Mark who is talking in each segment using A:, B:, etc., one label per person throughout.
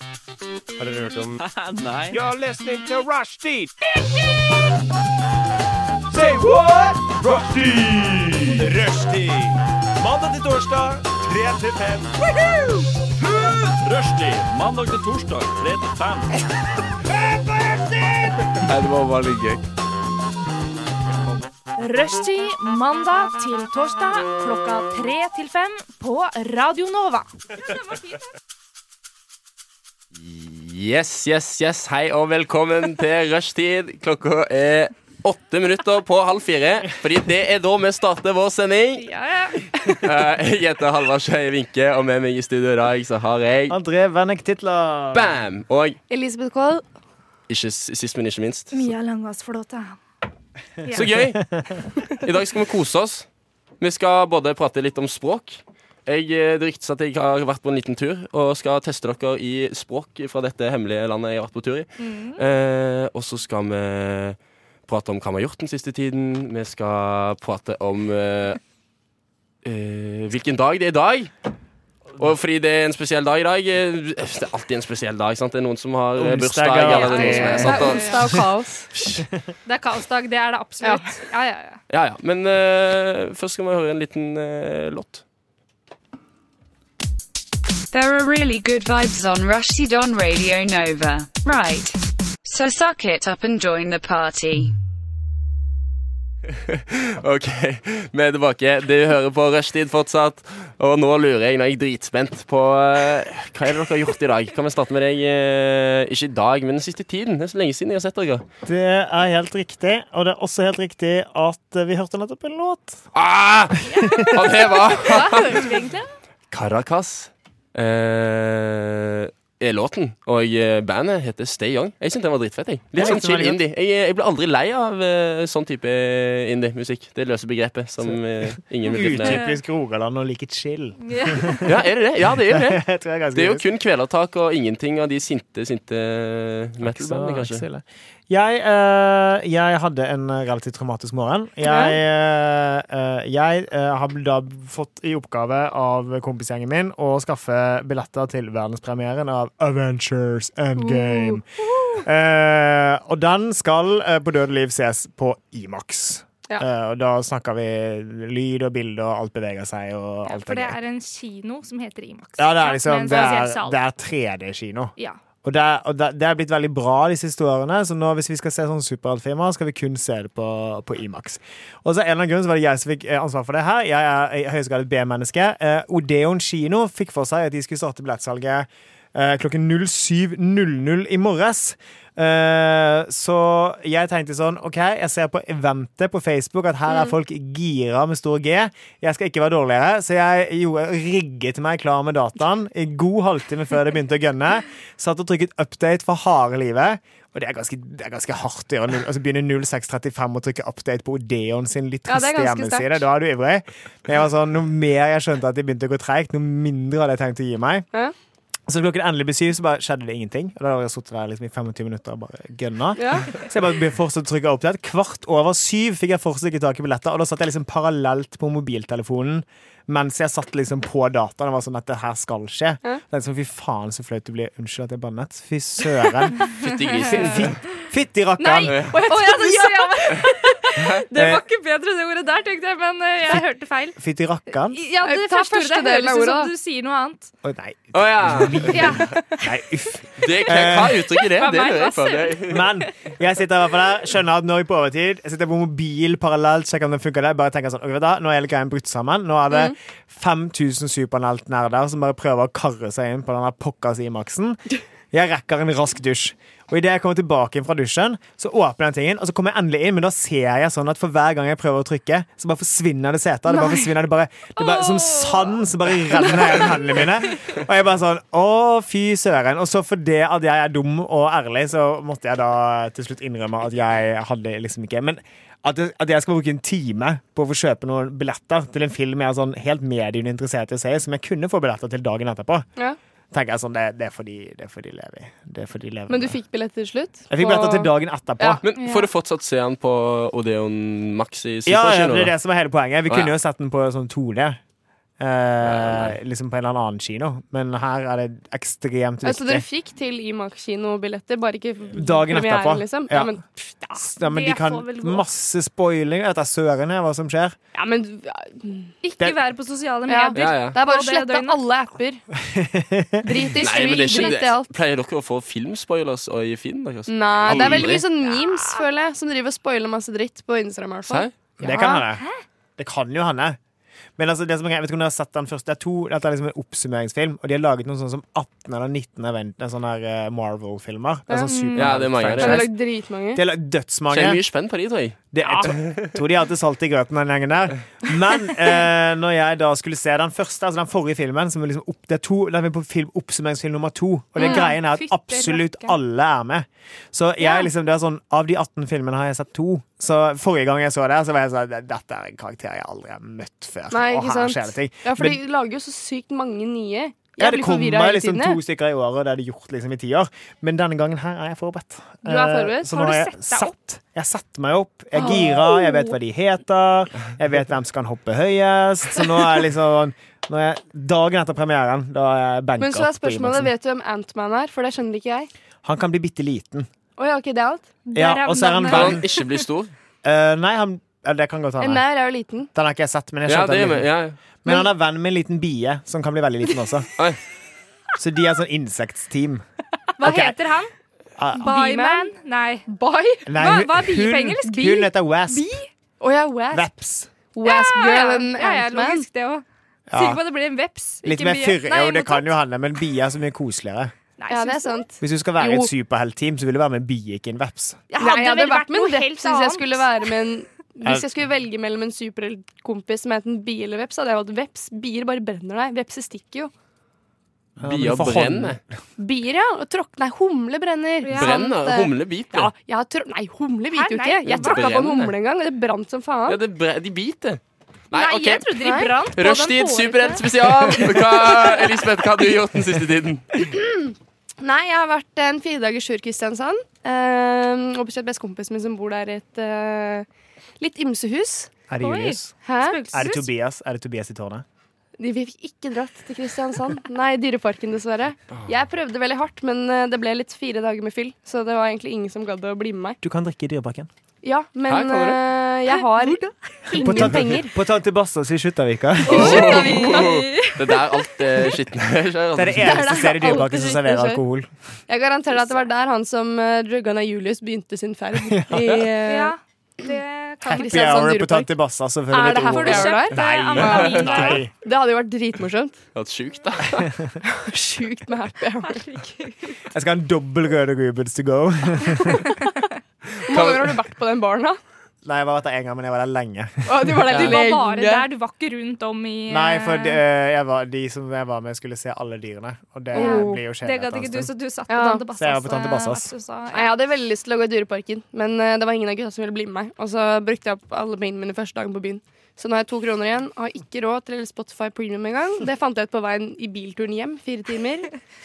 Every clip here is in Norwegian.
A: Har dere hørt om
B: Nei.
A: You're listening to Rushdie! Say what? Rushdie! Rushdie! Mandag til torsdag, 3 til 5. Rushdie, mandag til torsdag, 3 til 5.
B: Nei, det var bare litt gøy.
C: Rushtid mandag til torsdag klokka tre til fem på Radio Nova.
B: Yes, yes, yes. Hei og velkommen til rushtid. Klokka er åtte minutter på halv fire, fordi det er da vi starter vår sending.
C: Ja, ja.
B: Eh, Jeg heter Halvard Skeie Vinke, og med meg i studio i dag så har jeg
D: André Vennek Titler.
B: Bam! Og
E: Elisabeth Kohl.
B: ikke, s- sist, men ikke minst,
C: Mia Langås Flåta.
B: Så gøy! I dag skal vi kose oss. Vi skal både prate litt om språk. Jeg, eh, det ryktes at jeg har vært på en liten tur og skal teste dere i språk fra dette hemmelige landet jeg har vært på tur i. Eh, og så skal vi prate om hva vi har gjort den siste tiden. Vi skal prate om eh, eh, hvilken dag det er i dag. Og fordi det er en spesiell dag i dag eh, Det er alltid en spesiell dag. sant? Det er noen som har eh, bursdag.
D: Onsdager.
B: Eller noen som er,
E: Det
B: sant?
E: er
B: Og-
E: onsdag og kaos.
F: Det er kaosdag, det er det absolutt. Ja, ja, ja.
B: Ja, ja. Men eh, først skal vi høre en liten eh, låt.
G: There are really good vibes on Rushdie on Radio Nova. Right. So suck it up and join the party.
B: OK, vi er tilbake. Du hører på Rushtid fortsatt. Og nå lurer jeg, nå er jeg dritspent på eh, Hva er det dere har gjort i dag? Kan vi starte med deg? eh, ikke i dag, men den siste tiden. Det er så lenge siden jeg har sett dere.
D: Det er helt riktig, og det er også helt riktig at vi hørte nettopp en låt.
B: Ah! Og det var
F: Hva hørte vi egentlig?
B: Caracas. Eh, er låten. Og eh, bandet heter Stay Young. Jeg syns den var dritfett. jeg Litt
D: Jeg
B: sånn
D: likte den
B: chill
D: veldig
B: indie. Jeg, jeg ble aldri lei av eh, sånn type indie-musikk. Det løse begrepet som eh, ingen vil definere.
D: Utypisk Rogaland og like chill.
B: Ja, er det det? Ja, det er jo det.
D: Jeg tror jeg er ganske
B: Det er jo
D: bevisst.
B: kun kvelertak og ingenting av de sinte, sinte metal-bandene,
D: Så-
B: kanskje.
D: ille. Jeg, eh, jeg hadde en relativt traumatisk morgen. Jeg, eh, eh, jeg eh, har da fått i oppgave av kompisgjengen min å skaffe billetter til verdenspremieren av Avengers Endgame.
C: Uh,
D: Eh, og den skal eh, på døde liv ses på Imax.
F: Ja.
D: Eh, og da snakker vi lyd og bilde, og alt beveger seg. Og alt
C: For det
D: gøy.
C: er en kino som heter Imax.
D: ja, det er liksom
C: Men
D: Det
C: for å si det sånn.
D: er,
C: salt.
D: det er 3D-kino.
C: Ja.
D: Og, det, og det, det er blitt veldig bra de siste årene, så nå hvis vi skal se sånne superheltfilmer, skal vi kun se det på, på Imax. Og så av en eller annen grunn så var det jeg som fikk eh, ansvar for det her. Jeg er i høyeste grad et B-menneske. Eh, Odeon kino fikk for seg at de skulle starte billettsalget eh, klokken 07.00 i morges. Eh, så jeg tenkte sånn OK, jeg ser på eventet på Facebook at her er folk gira med stor G. Jeg skal ikke være dårligere, så jeg jo, rigget meg klar med dataen i god halvtime før det begynte å gønne. Satt og trykket update for harde livet. Og det er ganske, det er ganske hardt å gjøre null- altså begynne 06.35 og trykke update på Odeon sin litt
F: Ja,
D: triste
F: det er ganske
D: hjemmeside.
F: sterkt.
D: Da er du ivrig. Men jeg var sånn, noe mer jeg skjønte at det begynte å gå treigt, noe mindre hadde jeg tenkt å gi meg.
F: Ja.
D: Så klokken endelig ble syv, så bare skjedde det ingenting. Og da hadde jeg sittet der liksom i 25 minutter og bare gønna.
F: Ja.
D: Så jeg bare be- fortsatte å trykke opp der. Kvart over syv fikk jeg fortsatt ikke tak i billetter, og da satt jeg liksom parallelt på mobiltelefonen mens jeg satt liksom på dataen og var sånn at det her skal skje. Det er sånn, Fy faen, så flaut det blir. Unnskyld at jeg bannet. Fy søren.
B: Fytti grisen.
D: Fytti
F: Nei!
D: rakkeren.
F: Og jeg trodde du sa Det
D: Eh,
F: var ikke bedre det ordet der, tenkte jeg, men eh, jeg hørte feil. Eh,
D: Fytti rakkeren.
C: ja, det
F: Ta
C: første ordet
F: første
C: det
F: delen av
C: høres ut
F: ordet,
C: som du sier noe annet.
D: Å nei.
B: Å ja.
C: Ja.
D: nei. Uff.
B: Det, hva, hva uttrykker det?
F: Hva
B: Det
F: meg,
B: lurer jeg på.
F: hva
B: Det.
D: Men jeg sitter i hvert fall der, skjønner at Norge på overtid. Jeg sitter på mobil parallelt, sjekker om den funker der. Bare tenker sånn, ok, vet du, hva, Nå er hele greien brutt sammen. Nå er det 5000 superheltnerder som bare prøver å karre seg inn på den der pokkers Imax-en. Jeg rekker en rask dusj. Og Idet jeg kommer tilbake inn fra dusjen, så åpner den tingen, og så kommer jeg endelig inn, men da ser jeg sånn at for hver gang jeg prøver å trykke, så bare forsvinner det seter. Det bare forsvinner, det bare, det bare Som sand så bare renner jeg gjennom hendene mine. Og jeg bare sånn Å, fy søren. Og så fordi at jeg er dum og ærlig, så måtte jeg da til slutt innrømme at jeg hadde liksom ikke Men at jeg, at jeg skal bruke en time på å få kjøpe noen billetter til en film jeg er sånn helt mediene interessert i å se, som jeg kunne få billetter til dagen etterpå,
F: Ja.
D: tenker jeg sånn Det, det er fordi det er fordi de lever i. Det er fordi de lever
E: Men du
D: i.
E: fikk billett til slutt?
D: Jeg fikk billetter til dagen etterpå.
E: Ja.
B: Men får du fortsatt se han på Odeon Max i
D: Ja, ja,
B: Superkino?
D: det er
B: da?
D: det som er hele poenget. Vi
B: Å,
D: kunne
B: ja.
D: jo sett den på sånn 2D. eh, liksom på en eller annen kino, men her er det ekstremt
H: Altså, dere
D: viktig.
H: fikk til Imak-kinobilletter, bare ikke
D: Dagen
H: premieren,
D: etterpå.
H: Liksom.
D: Ja.
H: Ja. men,
D: S- Ja, men de
F: det
D: kan
F: får vel gå.
D: masse spoiling. Vet da søren jeg hva som skjer.
H: ja, men ja,
C: Ikke
D: Det-
C: være på sosiale
H: Ja.
C: medier.
B: Ja, ja.
E: Det er bare å
C: Og det
E: slette
C: døgnet.
E: alle apper. Drit i stream,
B: Nei, men det er ikke
E: drit i alt.
B: det. Pleier dere å få filmspoilers og i feeden deres?
H: Nei, det er veldig mye
B: Aldri.
H: sånn memes, føler jeg, som driver og spoiler masse dritt på Instagram. i hvert fall.
B: Serr?
D: Det kan hende. Det kan jo hende. Men altså, det som er, jeg vet ikke om dere har sett den først. Det er to, dette er liksom en oppsummeringsfilm, og de har laget noen sånne som 18 eller 19 event, sånne her eh, Marvel-filmer. Det er sånn super-
B: Ja, det er mange, det er
H: Jeg har
D: franchise.
H: lagd dritmange.
D: De har lagd dødsmange.
B: Kjenner mye spenn på de, tror jeg.
D: Det, jeg tror- tror de hadde salt i grøten den gjengen der. Men eh, når jeg da skulle se den første, altså den forrige filmen som er liksom opp, det er to, Den er på film, oppsummeringsfilm nummer to. Og
H: Mm.
D: det greien er at
F: Fytti
D: absolutt
F: rakkeren.
D: alle er med. Så jeg liksom, det er sånn, av de 18 filmene har jeg sett to. Så forrige gang jeg så det, så var jeg sånn Dette er en karakter jeg aldri har møtt før.
H: Nei,
D: og
H: ikke
D: her
H: sant.
D: skjer det ting.
H: Ja, for
D: Men-
H: de lager jo så sykt mange nye. Jeg
D: ja, det
H: blir forvirra
D: kommer
H: hele
D: liksom
H: tiden. jeg.
D: to stykker i året, og det er det gjort liksom i ti år. Men denne gangen her er jeg forberedt. Eh,
H: Du er forberedt?
D: Så
H: Har
D: nå
H: du
D: jeg
H: sett deg
D: satt- Jeg setter meg opp, jeg girer, jeg vet hva de heter, jeg vet hvem som kan hoppe høyest. Så nå er jeg liksom nå er jeg, Dagen etter premieren, da er jeg banka
H: Men så er
D: opp på
H: spørsmålet,
D: Iversen.
H: vet du hvem Antman er? For det skjønner ikke jeg.
D: Han kan bli bitte liten.
H: Å ja, ok, det er alt.
D: Ja, og så er han
B: Kan
D: verden
B: han ikke bli stor?
D: Eh, Nei, han eller det kan godt
H: En
D: hende.
H: maur er jo liten.
D: Den har ikke jeg sett, men jeg
B: Ja,
D: skjønte
B: det er
D: den
B: med.
D: liten.
B: Ja.
D: Men han er venn med en liten bie, som kan bli veldig liten også.
B: Oi.
D: Så de er sånn insektsteam.
F: Hva
D: Ok.
F: heter han?
D: Ah.
F: Byman? Nei. Bye?
D: Nei,
F: Hva-
D: hun-
F: hva er biepenger,
D: hun-
F: eller bi?
D: Hun heter Wasp.
H: Å ja, Wasp.
D: Veps.
H: Wasp
F: Ja,
H: girl
F: ja,
H: and
F: ja, ja,
H: Antman.
F: logisk det òg.
D: Ja.
F: Sikker på at det blir en veps.
D: Litt
F: ikke
D: mer
F: mye-
D: fyr.
F: Nei,
D: Jo, det
F: motsatt.
D: kan jo hende, men bier er så mye koseligere.
F: Nei,
H: Ja,
F: synes
H: det er
F: jeg.
H: sant.
D: Hvis du skal være
H: Jo.
D: et superheltteam, så vil du være med en bie, ikke en veps.
F: Jeg
H: Nei, jeg hadde
F: vel
H: vært med
F: noe
H: en veps
F: helt
H: hvis jeg
F: annet.
H: skulle være med en hvis jeg skulle velge mellom en superheltkompis som enten bi eller veps, hadde jeg valgt veps. Bier bare brenner deg. Vepser stikker jo.
D: men
B: Bier
D: for hånd-
B: brenner.
H: Bier, ja. Og tråkk... Nei, humle brenner. Sant,
B: Brenner.
H: eh.
B: Humler
H: Ja,
B: biter.
H: jeg har trå... Nei, humle biter jo
F: Hæ,
H: ikke.
F: nei.
H: Jeg tråkka på en
B: Brenner.
H: humle en gang, og det brant som faen.
B: Ja, det bre- de biter.
F: Nei,
B: Nei,
F: jeg
B: OK.
F: trodde de brant på den
B: Rushtid,
F: hårete-
B: superhelt spesial. Hva, Elisabeth, hva har du gjort den siste tiden?
H: Nei, jeg har vært en fire dagers tur i Kristiansand. Uh, og besøkt bestekompisen min som bor der i et eh, litt ymsehus.
D: Er det
F: Oi.
D: Julius?
H: Hæ?
F: Spøkelseshus?
D: Er det Tobias? Er det Tobias i tårnet?
H: De vi fikk ikke dratt til Kristiansand. Nei, Dyreparken, dessverre. Jeg prøvde veldig hardt, men eh, det ble litt fire dager med fyll. Så det var egentlig ingen som gadd å bli med meg.
D: Du kan drikke i Dyreparken.
H: Ja,
B: Her
H: men
B: kommer det.
H: eh, jeg har ingen penger.
D: på Tante Bassas i Skjuttavika.
B: Det er der alt eh, skitne skjer.
D: Det er det
B: altså.
D: eneste
H: der
D: stedet i Dyreparken
H: alltid
D: som serverer
H: skitner seg.
D: alkohol.
H: Jeg garanterer at det var der han som uh, Drugana Julius begynte sin ferd. I, eh,
F: Ja, det kan
D: Happy
H: Kristiansand
D: hour på
H: Dyrepark.
D: Tante Bassa,
H: Er
D: selvfølgelig.
H: det
D: et
H: her
F: Får
D: ord.
F: du
H: Ja,
F: kjøpt
D: Nei,
F: eh, amfetamin?
D: nei.
H: Det hadde jo vært dritmorsomt.
B: Det er sjukt, da.
H: Sjukt med happy hour.
D: Jeg skal ha en dobbel røde Rubens to go.
H: Hvor mange ganger har du vært på den baren, da?
D: Nei, jeg har vært der én gang, men jeg var der lenge.
H: Å, du var der
F: Du var bare
H: lenge.
F: der, du var ikke rundt om i eh,
D: Nei, for de, eh, jeg var, de som jeg var med, skulle se alle dyrene, og det
H: Oh.
D: blir jo kjedelig.
F: eh, Det
D: etter
F: gadd
D: en
F: ikke du,
D: stund.
F: så du satt
H: Ja.
F: på Tante
D: Så jeg
F: Bassas.
D: var på Tante
F: eh,
D: Bassas.
F: vertshus, da.
H: Nei, Jeg hadde veldig lyst til å gå i Dyreparken, men eh, det var ingen av gutta som ville bli med meg. Og så brukte jeg opp alle pengene mine første dagen på byen. Så nå har jeg to kroner igjen. Har ikke råd til Spotify Premium engang. Det fant jeg ut på veien i bilturen hjem. Fire timer.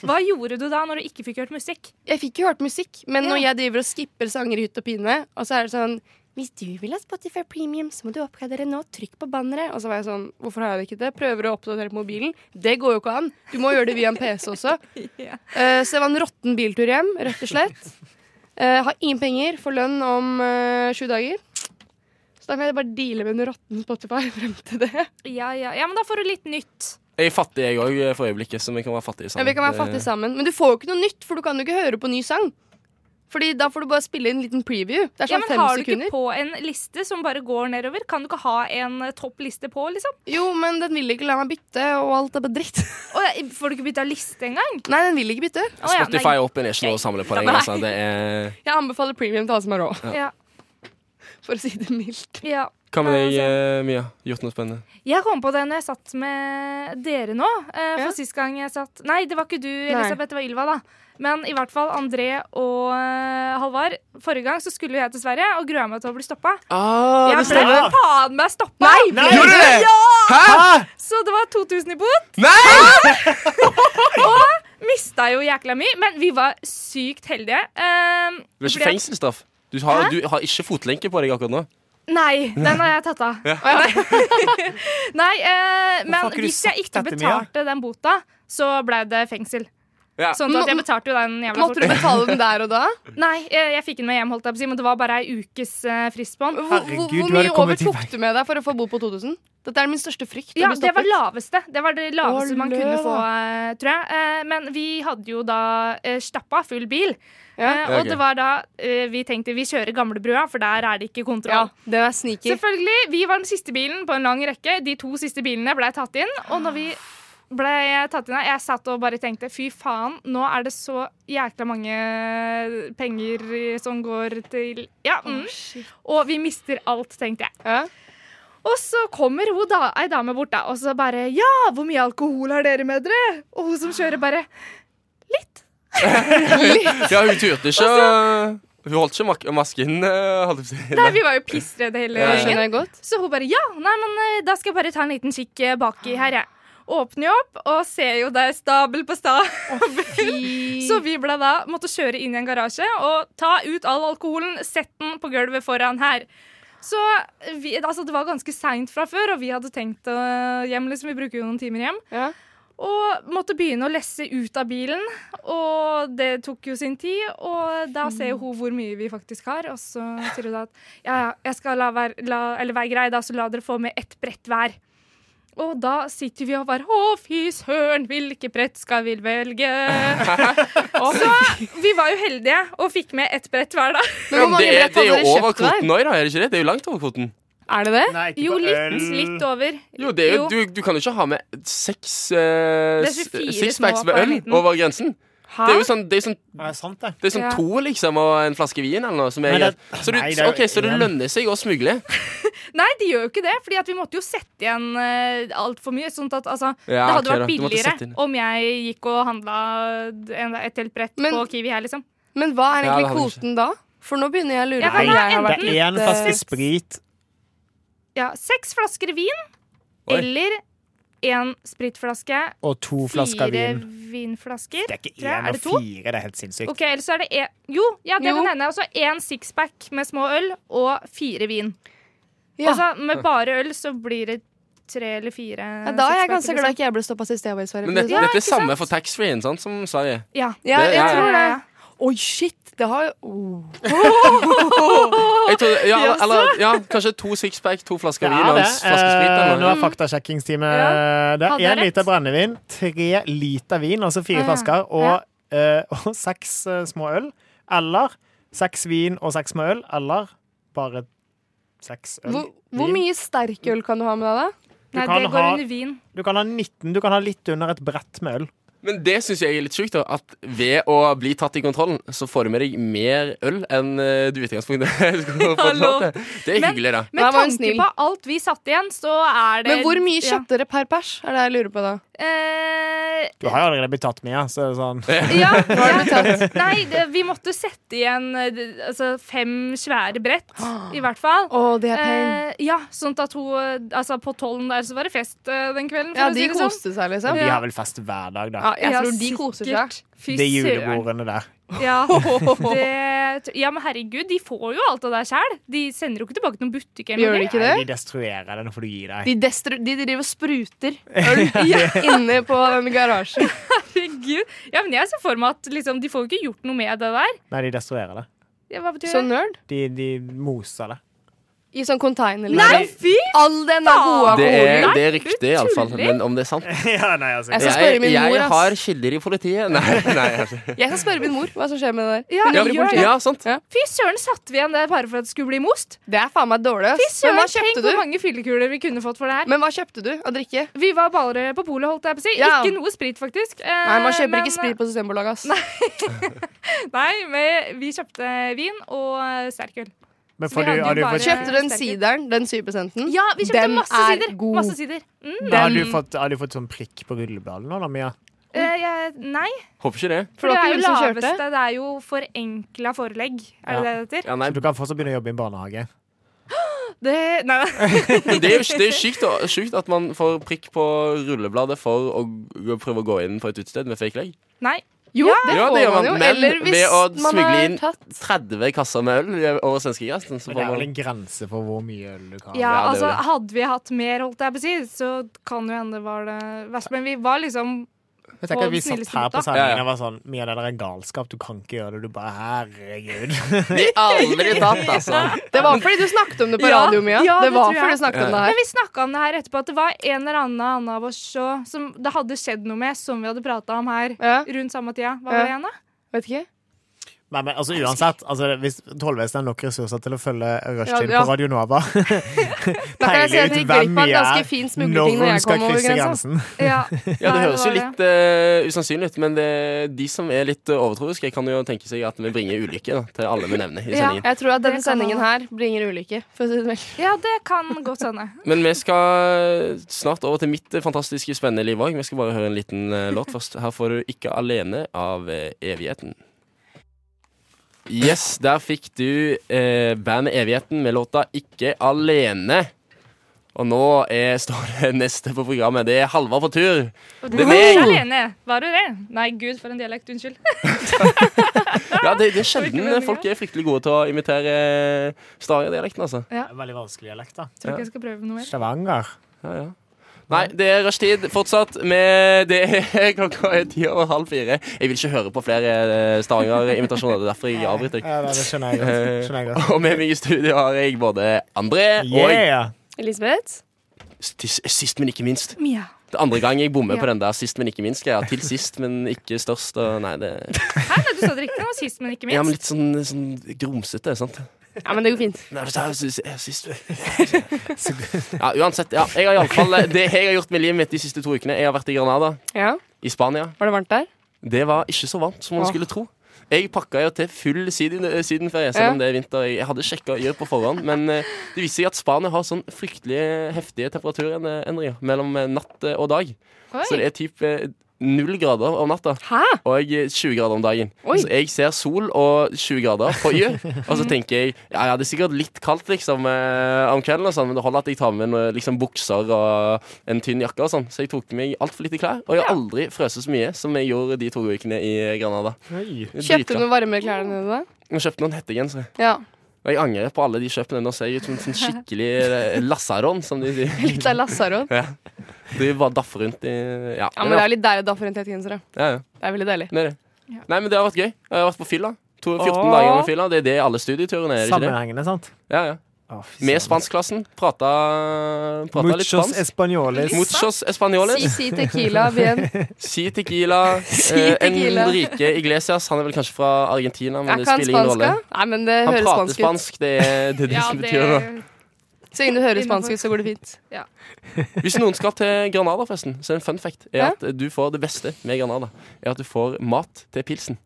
F: Hva gjorde du da når du ikke fikk hørt musikk?
H: Jeg fikk jo hørt musikk, men når jeg driver og skipper sanger i hytt og pine, og så er det sånn hvis du vil ha Spotify Premium, så må du oppgradere nå. Trykk på banneret. Og så var jeg sånn, hvorfor har jeg det ikke det? Prøver å oppdatere på mobilen. Det går jo ikke an. Du må gjøre det via en PC også.
F: Ja.
H: Eh, så det var en råtten biltur hjem, rett og slett. Eh, har ingen penger, får lønn om eh, sju dager. Så da kan jeg bare deale med en råtten Spotify frem til det.
F: Ja, ja. ja, men da får du litt nytt.
B: Jeg er fattig, jeg òg, for øyeblikket, så vi kan være fattige
H: Ja,
B: sammen.
H: vi kan være fattige sammen. Men du får jo ikke noe nytt, for du kan jo ikke høre på ny sang. Fordi da får du bare spille en liten preview. Det er
F: Ja,
H: sånn
F: men
H: fem
F: Har du
H: sekunder.
F: ikke på en liste som bare går nedover? Kan du ikke ha en eh, toppliste på, liksom?
H: Jo, men den vil ikke la meg bytte, og alt er bare dritt.
F: Og eh, får du ikke bytta liste engang?
H: Nei, den vil ikke bytte.
F: Å, ja, nei.
B: Spotify Open er ikke noe å samle på lenger. Altså. Det er
H: Jeg anbefaler premium til alle som har råd,
F: Ja,
H: for å si det mildt.
F: ja. altså.
B: Hva med deg, eh, Mia? Gjort noe spennende?
F: Jeg kom på det når jeg satt med dere nå. eh, for
H: Ja.
F: sist gang jeg satt Nei, det var ikke du, Elisabeth, det var Ylva, da. Men i hvert fall André og eh, Halvard. Forrige gang så skulle jeg til Sverige og grua meg til å bli stoppa.
B: Ah,
F: Jeg ble
D: stemmer.
F: faen meg stoppa!
D: Nei!
B: Gjorde du det?! Hæ?!
F: Så det var 2000 i bot.
B: Nei!
F: Mista jo jækla mye, men vi var sykt heldige. Eh,
B: Det er
F: fordi-
B: ikke fengselsstraff. Du har, du har ikke fotlenke på deg akkurat nå.
F: Nei, den har jeg tatt av.
B: Ja.
F: Å, ja. Nei, eh,
D: har
F: men
D: ikke du
F: hvis jeg
D: sagt
F: ikke
D: dette, Mia?
F: betalte den bota, så ble det fengsel.
B: Ja.
F: Sånn at jeg
H: Må-
F: betalte jo den jævla
H: Måtte du
F: fort.
H: betale den der og da?
F: Nei, eh, jeg, jeg fikk den med hjem, holdt jeg på å si, men det var bare ei ukes eh, frist på den.
H: Hvor,
D: Herregud,
H: hvor,
D: du
H: hvor
D: hadde
H: mye
D: kommet i
H: overtok
D: vei.
H: du med deg for å få bo på 2000? Dette er min største frykt. å
F: Ja,
H: bli
F: det var
H: stoppet.
F: laveste. Det var det laveste
H: Å,
F: man kunne
H: lø.
F: få, eh, tror jeg. Eh, Men vi hadde jo da eh, stappa full bil.
H: Ja.
F: Eh,
B: Ja, ok.
F: Og det var da eh, vi tenkte vi kjører gamlebrua, for der er det ikke
H: ja,
F: kontroll.
H: den er sneaky.
F: Selvfølgelig, Vi var den siste bilen på en lang rekke. De to siste bilene ble tatt inn. Og når vi ble tatt inn her, jeg satt og bare tenkte fy faen, nå er det så jækla mange penger som går til Ja. Mm. Og vi mister alt, tenkte jeg.
H: Ja.
F: Og så kommer hun da, ei dame bort da, og så bare Ja, hvor mye alkohol har dere med dere? Og hun som kjører, bare Sånn.
B: Ja, hun turte ikke å- Hun holdt ikke mak masken, eh, holdt jeg på å
F: Nei,
B: si.
F: vi var jo pissredde hele
B: Ja, ja.
F: gjengen.
H: Skjønner jeg godt.
F: Så hun bare ja, nei, men eh, da skal jeg bare ta en liten kikk eh, baki her, jeg. Åpner jo opp og ser jo det er stabel på stabel. så vi ble da måtte kjøre inn i en garasje og ta ut all alkoholen, sett den på gulvet foran her. Så vi, altså Det var ganske seint fra før, og vi hadde tenkt å hjem. liksom, Vi bruker jo noen timer hjem.
H: Ja.
F: Og måtte begynne å lesse ut av bilen, og det tok jo sin tid. Og da ser jo hun hvor mye vi faktisk har, og så sier hun da at ja, ja, jeg skal la være, la, eller være grei, da, så la dere få med ett brett hver. Og da sitter vi og bare Å, fy søren, hvilke brett skal vi velge? så vi var jo heldige og fikk med ett brett hver, da.
H: Men hvor mange
B: det, er-
H: brett
B: det er
H: hadde
B: jo
H: dere
B: over
H: kjøpt
B: kvoten
H: der?
B: nå, da, er det ikke det? Det er jo langt over kvoten.
H: Er det det?
D: Nei, ikke
F: Jo,
D: på
F: litt,
D: øl.
F: litt over.
B: Jo, det er jo,
F: Jo.
B: Du, du kan jo ikke ha med seks eh,
F: Det er
B: s-
F: 24
B: sixpacks
F: små
B: med
F: på en
B: øl
F: liten.
B: over grensen.
H: Hæ?
B: Det er jo sånn, det er sånn,
D: Ja, det er sant, det.
B: det er sånn
F: Ja.
B: to, liksom, og en flaske vin eller noe. Som er
D: Men det-
B: greit. så, du,
D: nei, det er jo
B: ok, så det
D: en.
B: lønner seg å smugle?
F: Nei, de gjør jo ikke det, Fordi at vi måtte jo sette igjen uh, altfor mye. Sånn at altså,
B: Ja,
F: Det hadde
B: ok da,
F: vært
B: du måtte
F: billigere
B: sette inn.
F: om jeg gikk og handla en- et helt brett
H: Men-
F: på Kiwi her, liksom.
H: Men hva er
B: Ja, det hadde
H: egentlig
B: jeg
H: kvoten da? For nå begynner jeg å lure
F: Ja,
H: på om
F: men
H: jeg har
D: Det
F: da
D: er
H: vært
F: enten-
D: én
H: litt, eh,
D: flaske sprit.
F: Ja, Seks flasker vin
B: Oi.
F: eller én spritflaske.
D: Og to flasker
F: Fire
D: vin.
F: vinflasker.
D: Det er ikke
F: tror jeg.
D: én
F: Er
D: og
F: det to?
D: fire, det er helt sinnssykt.
F: Ok, eller så er det en Jo, ja, det
H: Jo.
F: kan hende. Og så én sixpack med små øl og fire vin.
H: Ja.
F: Og så med bare øl så blir det tre eller fire. liksom.
H: ja, da er jeg
F: sixpacker,
H: ganske glad ikke jeg ble stoppa sist jeg var i Sverige.
B: Men
H: for å
B: dette,
H: si det sånn.
B: dette er samme for taxfree-en, sant, som Sverige.
F: Ja.
H: Ja,
B: det-
H: jeg
B: ja, ja.
H: tror det.
F: Ja, ja,
H: Oi, shit! Det har jo oh.
B: Jeg tror, ja, eller, ja, kanskje to sixpack, to flasker vin og en s- flaske sprit.
D: Eh,
B: Eller
D: Nå
B: noe.
D: er faktasjekkingstime. Det
F: Hadde
D: er
F: jeg
D: én liter
F: rett? Ah,
D: brennevin, tre liter vin, altså fire
F: Ja.
D: flasker, og, eh, og seks eh, små øl. Eller seks vin og seks små øl, eller bare seks øl.
H: hvor, hvor
D: vin.
H: mye sterkøl kan du ha med deg, da?
F: Nei,
D: kan
F: det
D: ha-
F: går under vin.
D: Du kan ha 19, du kan ha litt under et brett med øl.
B: Men det syns jeg er litt sjukt, da. At ved å bli tatt i kontrollen, så får du med deg mer øl enn eh, du i utgangspunktet skulle fått lov til. Det er
F: Men-
B: hyggelig, da.
F: Med
H: Nei, var hun
F: tanke
H: snill?
F: på alt vi satt igjen, så er det
H: Men hvor mye
F: Ja.
H: kjøpte dere per pers? Er det jeg lurer på da?
F: Eh,
D: Du har jo allerede blitt tatt med, ja. Så er det sånn.
F: ja,
H: Har
F: ja.
H: dere tatt?
F: Nei, det, vi måtte sette igjen eh, det- altså, fem svære brett, i hvert fall.
H: Å, det er pain.
F: Eh, ja, sånn at hun eh, Altså, på tollen der så var det fest eh, den kvelden, for
H: Ja,
F: å
H: de
F: si det sånn.
H: koste seg, liksom.
D: De har vel fest hver dag, da.
H: Ja, jeg
F: Ja,
H: tror de koser seg.
F: sikkert. Fy
D: De
F: søren.
D: julebordene der.
F: Ja, det, ja, men herregud, de får jo alt det der sjæl. De sender jo ikke tilbake til noen butikk. eller
H: Gjør
F: noe.
H: de ikke det?
D: Nei, de destruerer det, nå får du gi deg.
H: De, destru de driver og spruter øl inne på den garasjen.
F: Herregud. Ja, men jeg ser for meg at liksom, de får jo ikke gjort noe med det der.
D: Nei, de destruerer det.
F: Ja, Hva betyr
H: Så
F: det?
H: nerd.
D: De, de moser det.
H: I sånn
F: Nei,
H: container. Liksom.
F: fy
H: All den er gode
B: Det er,
H: alkoholen.
B: det er riktig, iallfall. Men om det er sant
D: ja, nei, altså.
H: Jeg skal spørre min mor,
B: jeg
H: ass.
B: har kilder i politiet. Nei, nei altså.
H: Jeg skal spørre min mor hva som skjer med det der.
F: Ja,
H: Hun
B: ja,
H: jobber i
F: gjør
H: politiet.
F: det.
B: ja, sant.
F: Fy søren, satte vi igjen det paret for at det skulle bli most?
H: Det er faen meg dårlig. ass.
F: Fy
H: Men hva
F: søren, tenk
H: kjøpte
F: hvor
H: du?
F: mange fyllekuler vi kunne fått for det her.
H: Men hva kjøpte du å drikke?
F: Vi var bare på polet, holdt jeg på å si.
H: Ja.
F: Ikke noe sprit, faktisk. Eh,
H: Nei, Man kjøper
F: men- eh,
H: ikke sprit på Systembolaget, ass.
F: Nei, men vi kjøpte vin og eh, sterkøl.
D: Men
F: Så
D: får
F: vi
D: du,
F: hadde
D: har
F: jo
D: du
F: bare-
D: fått
H: Kjøpte du den
F: Sterkere.
H: sideren, den 7
F: Ja, vi kjøpte
H: Den
F: masse
H: er
F: sider.
H: god.
F: Masse sider. Mm.
D: Men har
H: Den-
D: du fått, har du fått sånn prikk på rulleballen nå, da, Mia?
F: Eh, jeg- nei,
B: Håper ikke det.
F: for
H: For
F: det
H: dere
F: er jo
H: som kjørte?
F: laveste. Det er jo forenkla forelegg. Er det
D: Ja.
F: det det heter?
B: Ja, nei,
D: Så du kan fortsatt begynne å jobbe i en barnehage.
F: Det, nei, nei.
B: men det er jo det er jo sykt, da, sykt at man får prikk på rullebladet for å g- prøve å gå inn på et utested med fake leg.
F: nei.
H: Jo, det
B: Ja,
H: får
B: det gjør
H: man jo.
B: man,
H: Eller
B: men
H: hvis
B: ved å
H: man
B: smugle
H: har
B: inn
H: tatt
B: 30 kasser med øl over svenskegrensen, så
D: Men det
B: får
D: er vel
B: man
D: en grense for hvor mye øl du kan
F: Ja,
B: Ja, det er jo
F: altså
B: det.
F: Hadde vi hatt mer, holdt jeg på å si, så kan jo hende det var det verst. Men vi var liksom
D: Jeg tenker
F: på
D: at Vi
F: den
D: satt
F: snilleste
D: her på
F: gutta.
D: sendingen
B: Ja, ja.
D: og var sånn Mye av det der er galskap. Du kan ikke gjøre det. Du bare Herregud.
B: De aldri tatt, altså.
H: Det var fordi du snakket om det på
F: Ja,
H: radio, Mia.
F: ja,
H: det
F: det
H: var
F: tror jeg.
H: fordi du snakket om det
F: Men
H: her.
F: vi snakka om det her etterpå, at det var en eller annen annen av oss så, som det hadde skjedd noe med, som vi hadde prata om her
H: Ja,
F: rundt samme tida. Hva
H: Ja.
F: var det igjen, da?
H: vet ikke.
D: Nei, men altså uansett, altså, hvis tollvesenet har nok ressurser til å følge rushtid
H: Ja, ja.
D: på Radio Nova
H: Da kan jeg si
D: Peile
H: at
D: ut hvem
H: vi gikk på en
D: vi er
H: ganske fin
D: når hun
H: smuglerting når jeg
D: skal
H: kom over
D: krysse
H: grensa.
D: grensen.
F: Ja,
B: Ja, Det
F: Nei,
B: høres jo
F: var
B: litt eh, usannsynlig ut, men det, de som er litt eh, overtroiske, kan jo tenke seg at vi bringer ulykke da, til alle vi nevner i
F: Ja.
B: sendingen.
H: Jeg tror at denne
F: Det kan
H: sendingen
F: man.
H: her bringer ulykke. For å si det vel.
F: ja, det kan godt hende.
B: Men vi skal snart over til mitt eh, fantastiske spennende liv òg. Vi skal bare høre en liten eh, låt først. Her får du 'Ikke alene' av eh, Evigheten. Yes, der fikk du eh, bandet Evigheten med låta 'Ikke alene'. Og nå er, står det neste på programmet. Det er Halvard på tur.
F: Og du
B: Det er
F: var ikke
B: meg.
F: alene, var du det? Nei, gud, for en dialekt. Unnskyld.
B: Ja, det, det er sjelden
F: meningen.
B: folk er fryktelig gode til å imitere eh, Stavanger-dialekten, altså.
D: Veldig vanskelig dialekt, da.
F: Tror ikke jeg skal prøve noe mer.
D: Stavanger.
B: Ja, ja. Nei, det er rushtid fortsatt. Med det er klokka er ti over halv fire. Jeg vil ikke høre på flere eh, Stavanger-invitasjoner. Det er derfor jeg avbryter.
D: Ja, det det skjønner jeg
B: Eh,
D: godt. Skjønner jeg godt.
B: Og med meg i studio har jeg både André og
D: Yeah.
H: Elisabeth?
B: til s- sist, men ikke minst.
F: Mia.
B: Det er andre gang jeg bommer
F: Ja.
B: på den der sist, men ikke minst. greia. Til sist, men ikke størst. Og nei, det
F: Hæ, nei, du sa det riktig nå, sist, men ikke
B: Ja, men litt
F: minst.
B: sånn, sånn grumsete, sant?
H: Ja, men det går fint.
B: Nei, det er sist- sist Ja, uansett. Ja. Jeg har iallfall eh, Det jeg har gjort med livet mitt de siste to ukene, jeg har vært i Granada,
H: Ja,
B: i Spania.
H: Var det varmt der?
B: Det var ikke så varmt som man
H: Åh.
B: skulle tro. Jeg pakka jo til full siden, eh, sydenferie, selv om det er vinter. Jeg hadde sjekka yr på forhånd, men eh, det viser seg at Spania har sånn fryktelig heftige temperaturendringer mellom eh, natt eh, og dag. Så det er typ eh, null grader om natta
H: Hæ?
B: og eh, 20 grader om dagen.
H: Oi.
B: Så jeg ser sol og 20 grader på yr, og så tenker jeg ja, ja, det er sikkert litt kaldt liksom eh, om kvelden, og sånn, men det holder at jeg tar med noe, liksom, bukser og en tynn jakke og sånn. Så jeg tok med meg altfor lite klær, og jeg har aldri frøst så mye som jeg gjorde de to ukene i Granada.
D: Oi.
B: Det er
H: Kjøpte du
B: dritbra.
H: noen varmere klær enn da?
B: Jeg kjøpte noen hettegensere.
H: Ja.
B: Og jeg angrer på alle de kjøpene. Nå ser jeg ut som en sånn skikkelig eh, lasaron, som de sier.
H: Litt av Lasaron.
B: Du bare daffer rundt i Ja,
H: Ja, men det er litt deilig å daffe rundt hettegensere.
B: ja, ja.
H: Det er veldig deilig.
B: Det er det.
F: Ja.
B: Nei, men det har vært gøy. Jeg har vært på fylla. To- 14
H: Åh.
B: dager med fylla. Det er det alle studieturene er. er det ikke det?
D: Sammenhengende, sant?
B: Ja, ja.
D: Å, fy
B: Med
D: søren.
B: spanskklassen. Prata, prata litt
D: Muchos
B: spansk.
D: españoles.
B: Muchos españoles.
H: Si si tequila bien.
B: Si tequila.
H: Si
B: Eh,
H: tequila.
B: Enrique Iglesias. Han er vel kanskje fra Argentina, men
H: Er
B: det
H: ikke han
B: spiller ingen
H: spansk,
B: rolle.
H: da? Nei, men det
B: Han
H: høres
B: prater
H: spansk ut.
B: spansk. Det er det, er det
F: Ja,
B: som
F: det
B: betyr noe.
H: Så lenge du hører
F: Innenfor.
H: spansk ut, så går det fint.
B: Hvis noen skal til Granada, forresten, så er en fun fact er
H: Ja.
B: at du får det beste med Granada. Er at du får mat til pilsen.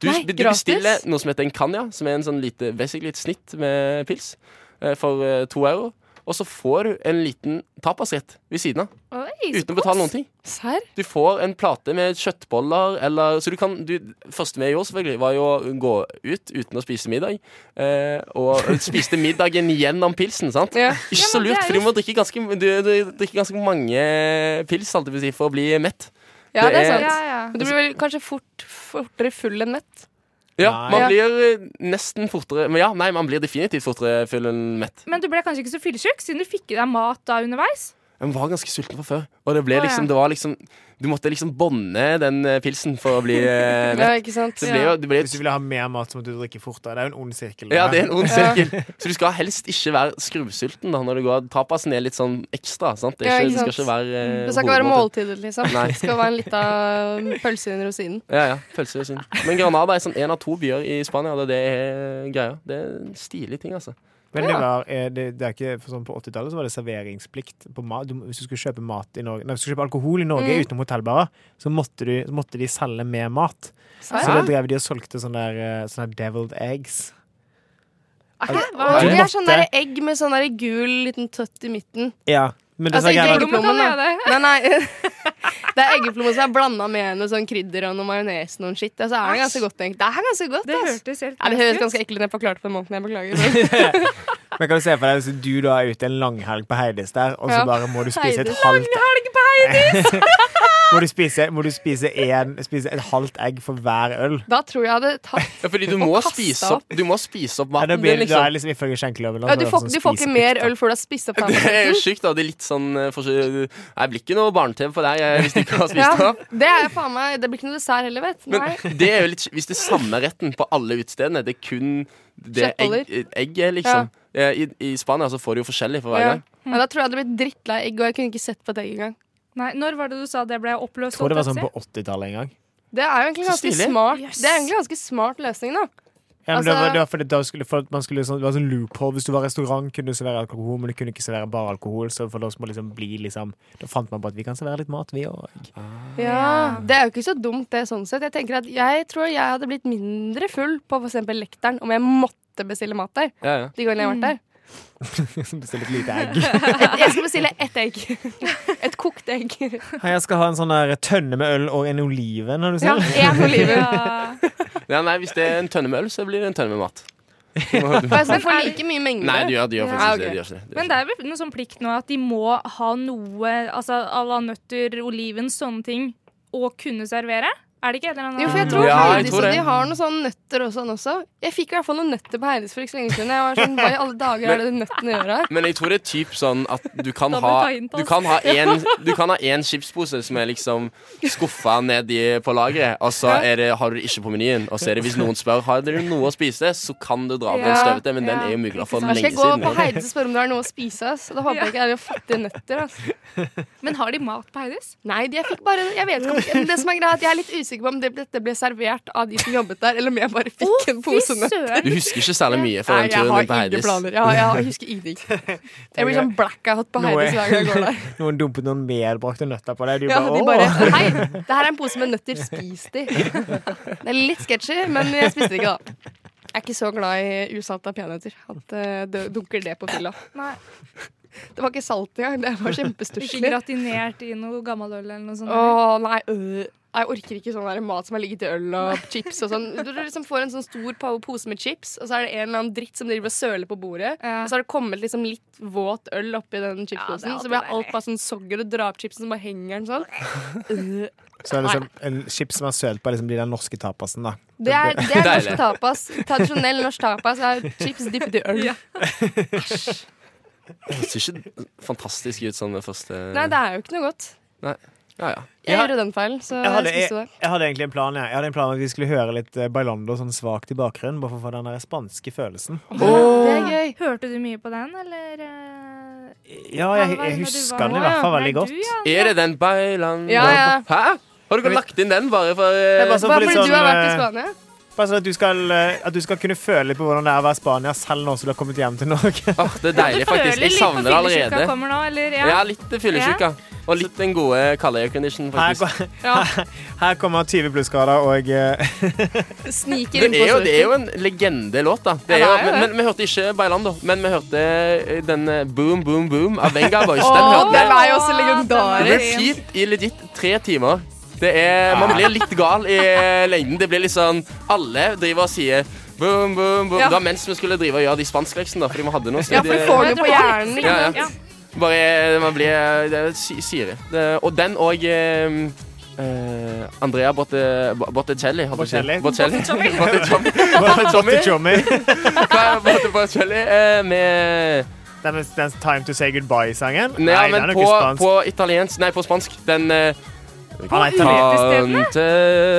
B: Du,
H: Nei,
B: du
H: gratis?
B: bestiller noe som heter en canja, som er en sånn lite, basically et snitt med pils, eh, for eh, to euro. Og så får du en liten tapasrett ved siden av,
F: Oi, så
B: uten å betale
F: kos.
B: noen ting.
H: Serr?
B: Du får en plate med kjøttboller eller Så du kan du, Første vi gjorde, selvfølgelig, var jo å gå ut uten å spise middag. Eh, og spiste middagen gjennom pilsen, sant?
H: Ja.
B: Ikke så
F: men det
B: lurt,
F: er
B: for
F: jo-
B: du må drikke ganske, du, du, drikker ganske mange pils holdt jeg på å si, for å bli mett.
H: ja, det
B: Det
H: er
B: er-
H: sant.
F: Ja, ja.
H: Men du blir vel kanskje fort, fortere full enn mett.
B: Ja,
D: Nei.
B: Man
H: Ja.
B: blir eh, nesten fortere men ja, Nei, man blir definitivt fortere full enn mett.
F: Men du ble kanskje ikke så fyllesyk, siden du fikk i deg mat da underveis?
B: Jeg var ganske sulten fra før. Og det ble
F: Å, ja.
B: liksom, det var liksom Du måtte liksom bånde den eh, pilsen for å bli eh,
H: Ja,
B: mett.
H: ikke sant?
B: Så det ble jo det ble
D: Hvis du vil ha mer mat, så må du drikke fortere. Det er jo en ond sirkel.
B: Ja, det er en ond sirkel. Så du skal helst ikke være skrubbsulten da, når du går. Tapasen er litt sånn ekstra. sant? Det, er
H: Ja,
B: ikke,
H: ikke
B: det skal
H: sant.
B: ikke være eh,
H: Det skal ikke være
B: hovedmåltid.
H: måltider, liksom.
B: Nei.
H: Det skal være en liten pølse under rosinen.
B: Ja, ja, pølse og synd. Men Granada er sånn én av to byer i Spania, og det er greia. Det er en stilig ting, altså.
D: Men det var, eh, det, det er ikke, for sånn på 80-tallet så var det serveringsplikt på mat. Du, må- hvis du skulle kjøpe mat i Norge Nei, hvis du skulle kjøpe alkohol i Norge
B: Mm.
D: utenom hotellbarer, så måtte, du, så måtte de selge med mat. Så da
H: Serr?
D: drev de og solgte sånne, der, eh, sånne der deviled eggs.
H: Hæ? Hva?
D: Du
H: Det er
D: måtte-
H: sånn der egg med sånn der gul liten tøtt i midten.
D: Ja, men det
H: Altså,
D: som er sånn, greia
H: ikke
D: med-
H: eggeplommen,
F: Eggeplommen kan
H: da. Nei, nei. Det er eggeplommen som er blanda med noe sånn krydder og noe majones og noe skitt. Altså, er det ganske godt, tenkt. Det er ganske godt,
F: Det
H: ass.
F: hørtes helt
H: Ja, det
F: nasty
H: høres
F: ut.
H: ganske ekkelt ut. Jeg forklarte på den måten. Jeg beklager.
D: Men kan du se for deg hvis du da er ute en langhelg på Heidis der, og så
H: Ja.
D: bare må du spise et
H: Heidis.
D: halvt
F: Helg på
D: Må du spise, må du spise, en, spise et halvt egg for hver øl?
H: Da tror jeg jeg hadde tatt
B: Ja, fordi du må,
H: kasta
B: spise opp, du må spise opp
D: Ja, da
B: maten
D: blir,
B: din,
D: liksom. da er
B: liksom.
D: liksom ifølge skjenkeloven
H: ja, du, får, du får ikke mer øl før du har spist opp
B: Det er jo
H: halvparten.
B: sykt, da. Det er litt sånn eh, for, Jeg blir ikke noe barne-TV på deg eh, hvis du ikke har
H: Ja,
B: spist det opp.
H: det er faen meg Det blir ikke noe dessert heller, vet du. Nei.
B: Men det er jo litt Hvis det er samme retten på alle utestedene, det er kun det
H: Kjøttboller.
B: egg- egget, liksom. Eh, I, I Spania så får du jo forskjellig for hver
H: Ja.
B: gang.
H: Ja, da tror jeg jeg hadde blitt drittlei egg, og jeg kunne ikke sett på et egg engang.
F: Nei, når var det du sa det ble oppløst?
D: Jeg tror det var
F: holdt
D: sånn
F: jeg
D: på 80-tallet en gang.
H: Det er jo egentlig
B: Så
H: ganske
B: stilig.
H: smart
F: Yes.
H: Det er egentlig ganske smart løsning,
D: Ja,
H: da.
D: men
H: Altså-
D: det, var, det var fordi da skulle, for at man skulle sånn, Det var sånn loophole. Hvis du var restaurant, kunne du servere alkohol, men du kunne ikke servere bare alkohol. Så for da, må liksom bli, liksom, da fant man på at vi kan servere litt mat, vi òg.
H: Ja, Det er jo ikke så dumt, det sånn sett. Jeg tenker at jeg tror jeg hadde blitt mindre full på f.eks. Lekteren om jeg måtte bestille mat der.
B: Ja, ja.
H: De gangene jeg har vært der.
B: Mm.
D: Bestille et lite egg.
H: Et, jeg skal bestille ett egg. Et kokt egg.
D: Hei, Jeg skal ha en sånn der tønne med øl og en oliven. Er du
H: Ja,
D: snill.
H: én oliven.
F: Ja.
B: Ja, nei, hvis det er en tønne med øl, så blir det en tønne med mat. Nei,
H: Og jeg skal få like mye mengde.
B: de gjør, de gjør
H: Ja,
B: faktisk
H: ok.
B: det. De gjør ikke det. De
F: Men
B: gjør ikke
F: det er vel noe sånn plikt nå at de må ha noe altså à la nøtter, oliven, sånne ting å kunne servere? Er det ikke et eller annet?
H: Jo, for jeg tror
B: Ja, jeg
H: Heidis
B: tror
H: og
B: det.
H: de har noen sånne nøtter og sånn også. Jeg fikk i hvert fall noen nøtter på Heidis for ikke så lenge siden. Jeg var sånn, Hva i alle dager er det de nøttene gjør her?
B: det. Men jeg tror det er typ sånn at du kan
F: Da må
B: ha
F: du ta inn
B: Du
F: på
H: altså.
F: oss.
B: kan ha en, du kan ha en chipspose som er liksom skuffa nedi på lageret, og så er det, har du det ikke på menyen. Og så er det hvis noen spør har dere noe å spise, så kan du dra på en
H: Ja,
B: støvete, men den
F: ja.
B: er jo mugla for
H: Her
B: lenge
H: skal jeg gå på
B: siden.
H: Heidis og spørre om det er noe å spise. ass. Da håper jeg ikke det er noen fattige nøtter. ass.
F: Men har de mat på Heidis?
H: Nei, de- jeg fikk bare Jeg vet ikke om Det som er greit, er at jeg er litt usikker på om det, dette ble servert av de som jobbet der, eller om jeg bare fikk en pose nøtter.
B: Du husker ikke særlig mye fra
H: Nei,
B: den
H: jeg
B: turen
H: har
B: din på
H: ingen
B: Heidis.
H: planer. Jeg, har- jeg har- jeg husker ingenting. Jeg blir sånn blackout på Heidis hver gang jeg går der.
D: Noen dumpet noen medbrakte nøtter på deg. Du
H: Ja,
D: bare,
H: de
D: «Åh!»
H: bare Hei, det her er en pose med nøtter. Spis de. Det er litt sketchy, men jeg spiste ikke, da. Jeg er ikke så glad i usalta peanøtter. At eh, det dunker det på fylla.
F: Nei.
H: Det var ikke salt engang. Det var
F: Ikke
H: kjempestusslig.
F: gratinert i noe gammeløl eller noe sånt?
H: Å, nei. øh. Jeg orker ikke sånn der mat som har ligget i øl og chips og sånn. Du liksom får en sånn stor pa- pose med chips, og så er det en eller annen dritt som driver og søler på bordet.
F: Ja.
H: Og så har det kommet liksom litt våt øl oppi den chipsposen.
F: alltid
H: så blir
F: deilig.
H: alt bare sånn sogger og drar opp chipsen, så bare henger den sånn. Øh.
D: Så er det liksom en chips som er sølt på liksom de der norske tapasen, da.
H: Det er, det er
B: Deilig.
H: norsk tapas. Tradisjonell norsk tapas er chips dippet i øl.
B: Det ser ikke fantastisk ut sånn det første
H: Nei, det er jo ikke noe godt.
B: Ja, ja.
H: Jeg
D: Jeg har-
H: gjorde den feilen, så
D: Jeg hadde,
H: jeg
D: jeg,
H: spiste det.
D: jeg hadde egentlig en plan jeg. jeg hadde en plan om at vi skulle høre litt eh, Bailando sånn svakt i bakgrunnen, bare for å få den der spanske følelsen.
H: Det er gøy.
F: Hørte du mye på den, eller? eh,
D: Ja, jeg,
F: Alvar,
D: jeg
F: når du
D: husker
F: var-
D: den i hvert fall
F: Nei,
D: veldig
F: du,
D: godt.
F: ja.
B: Er det den bailando
H: Ja, ja.
B: Hæ? Har du ikke lagt inn den bare for
D: Det er
B: eh,
D: bare sånn
H: Bare
D: for litt
H: fordi du har
D: sånn,
H: vært i
D: eh,
H: Spania?
D: Bare sånn at du, skal, eh, at du skal kunne føle litt på hvordan det er å være i Spania, selv nå som du har kommet hjem til Norge.
B: ah, Det er deilig, faktisk. Jeg savner det
F: Du føler litt på fyllesjuka
B: allerede.
F: kommer nå, eller?
B: Ja, litt fyllesjuka. Og litt den gode kalde aircondition,
D: Her,
B: faktisk.
D: ko- her, her kommer 20 plussgrader og eh,
H: Sniker
B: Det
H: inn
B: er,
H: på
B: jo, det er jo
H: storken.
B: en legendelåt, da. Det
H: Ja,
B: er jo,
H: det er jo
B: men,
H: det.
B: men vi hørte ikke Bailando, men vi hørte eh, den eh, Boom Boom Boom av Venga Boys. Den
H: Åh,
B: hørte
H: den
B: jeg.
H: er jo også
B: Det
H: legendarisk.
B: ble fint i legit tre timer. Det er, man blir litt gal i lengden. Det blir litt sånn Alle driver og sier boom, boom, boom.
H: Ja.
B: Det var mens vi skulle drive og gjøre de spanskleksen, da, fordi vi hadde noe
H: Ja, for du får det jo på hjernen. liksom.
B: Ja,
H: ikke
B: ja.
H: sant?
F: Ja.
B: Bare man blir det er sy- syre. Det, og den og eh, eh, Andrea Botte, Botticelli. holdt jeg på å si. Bocelli. Botticelli. Tommy.
D: Tommy.
B: Hva er Botte- Botticelli eh, med
D: Den, den Time to say goodbye-sangen.
B: Nei,
D: Nei, den
B: men
D: er
B: på,
D: nok ikke spansk.
B: på italiensk Nei, på spansk. Den eh,
D: Han er italien-
B: Tante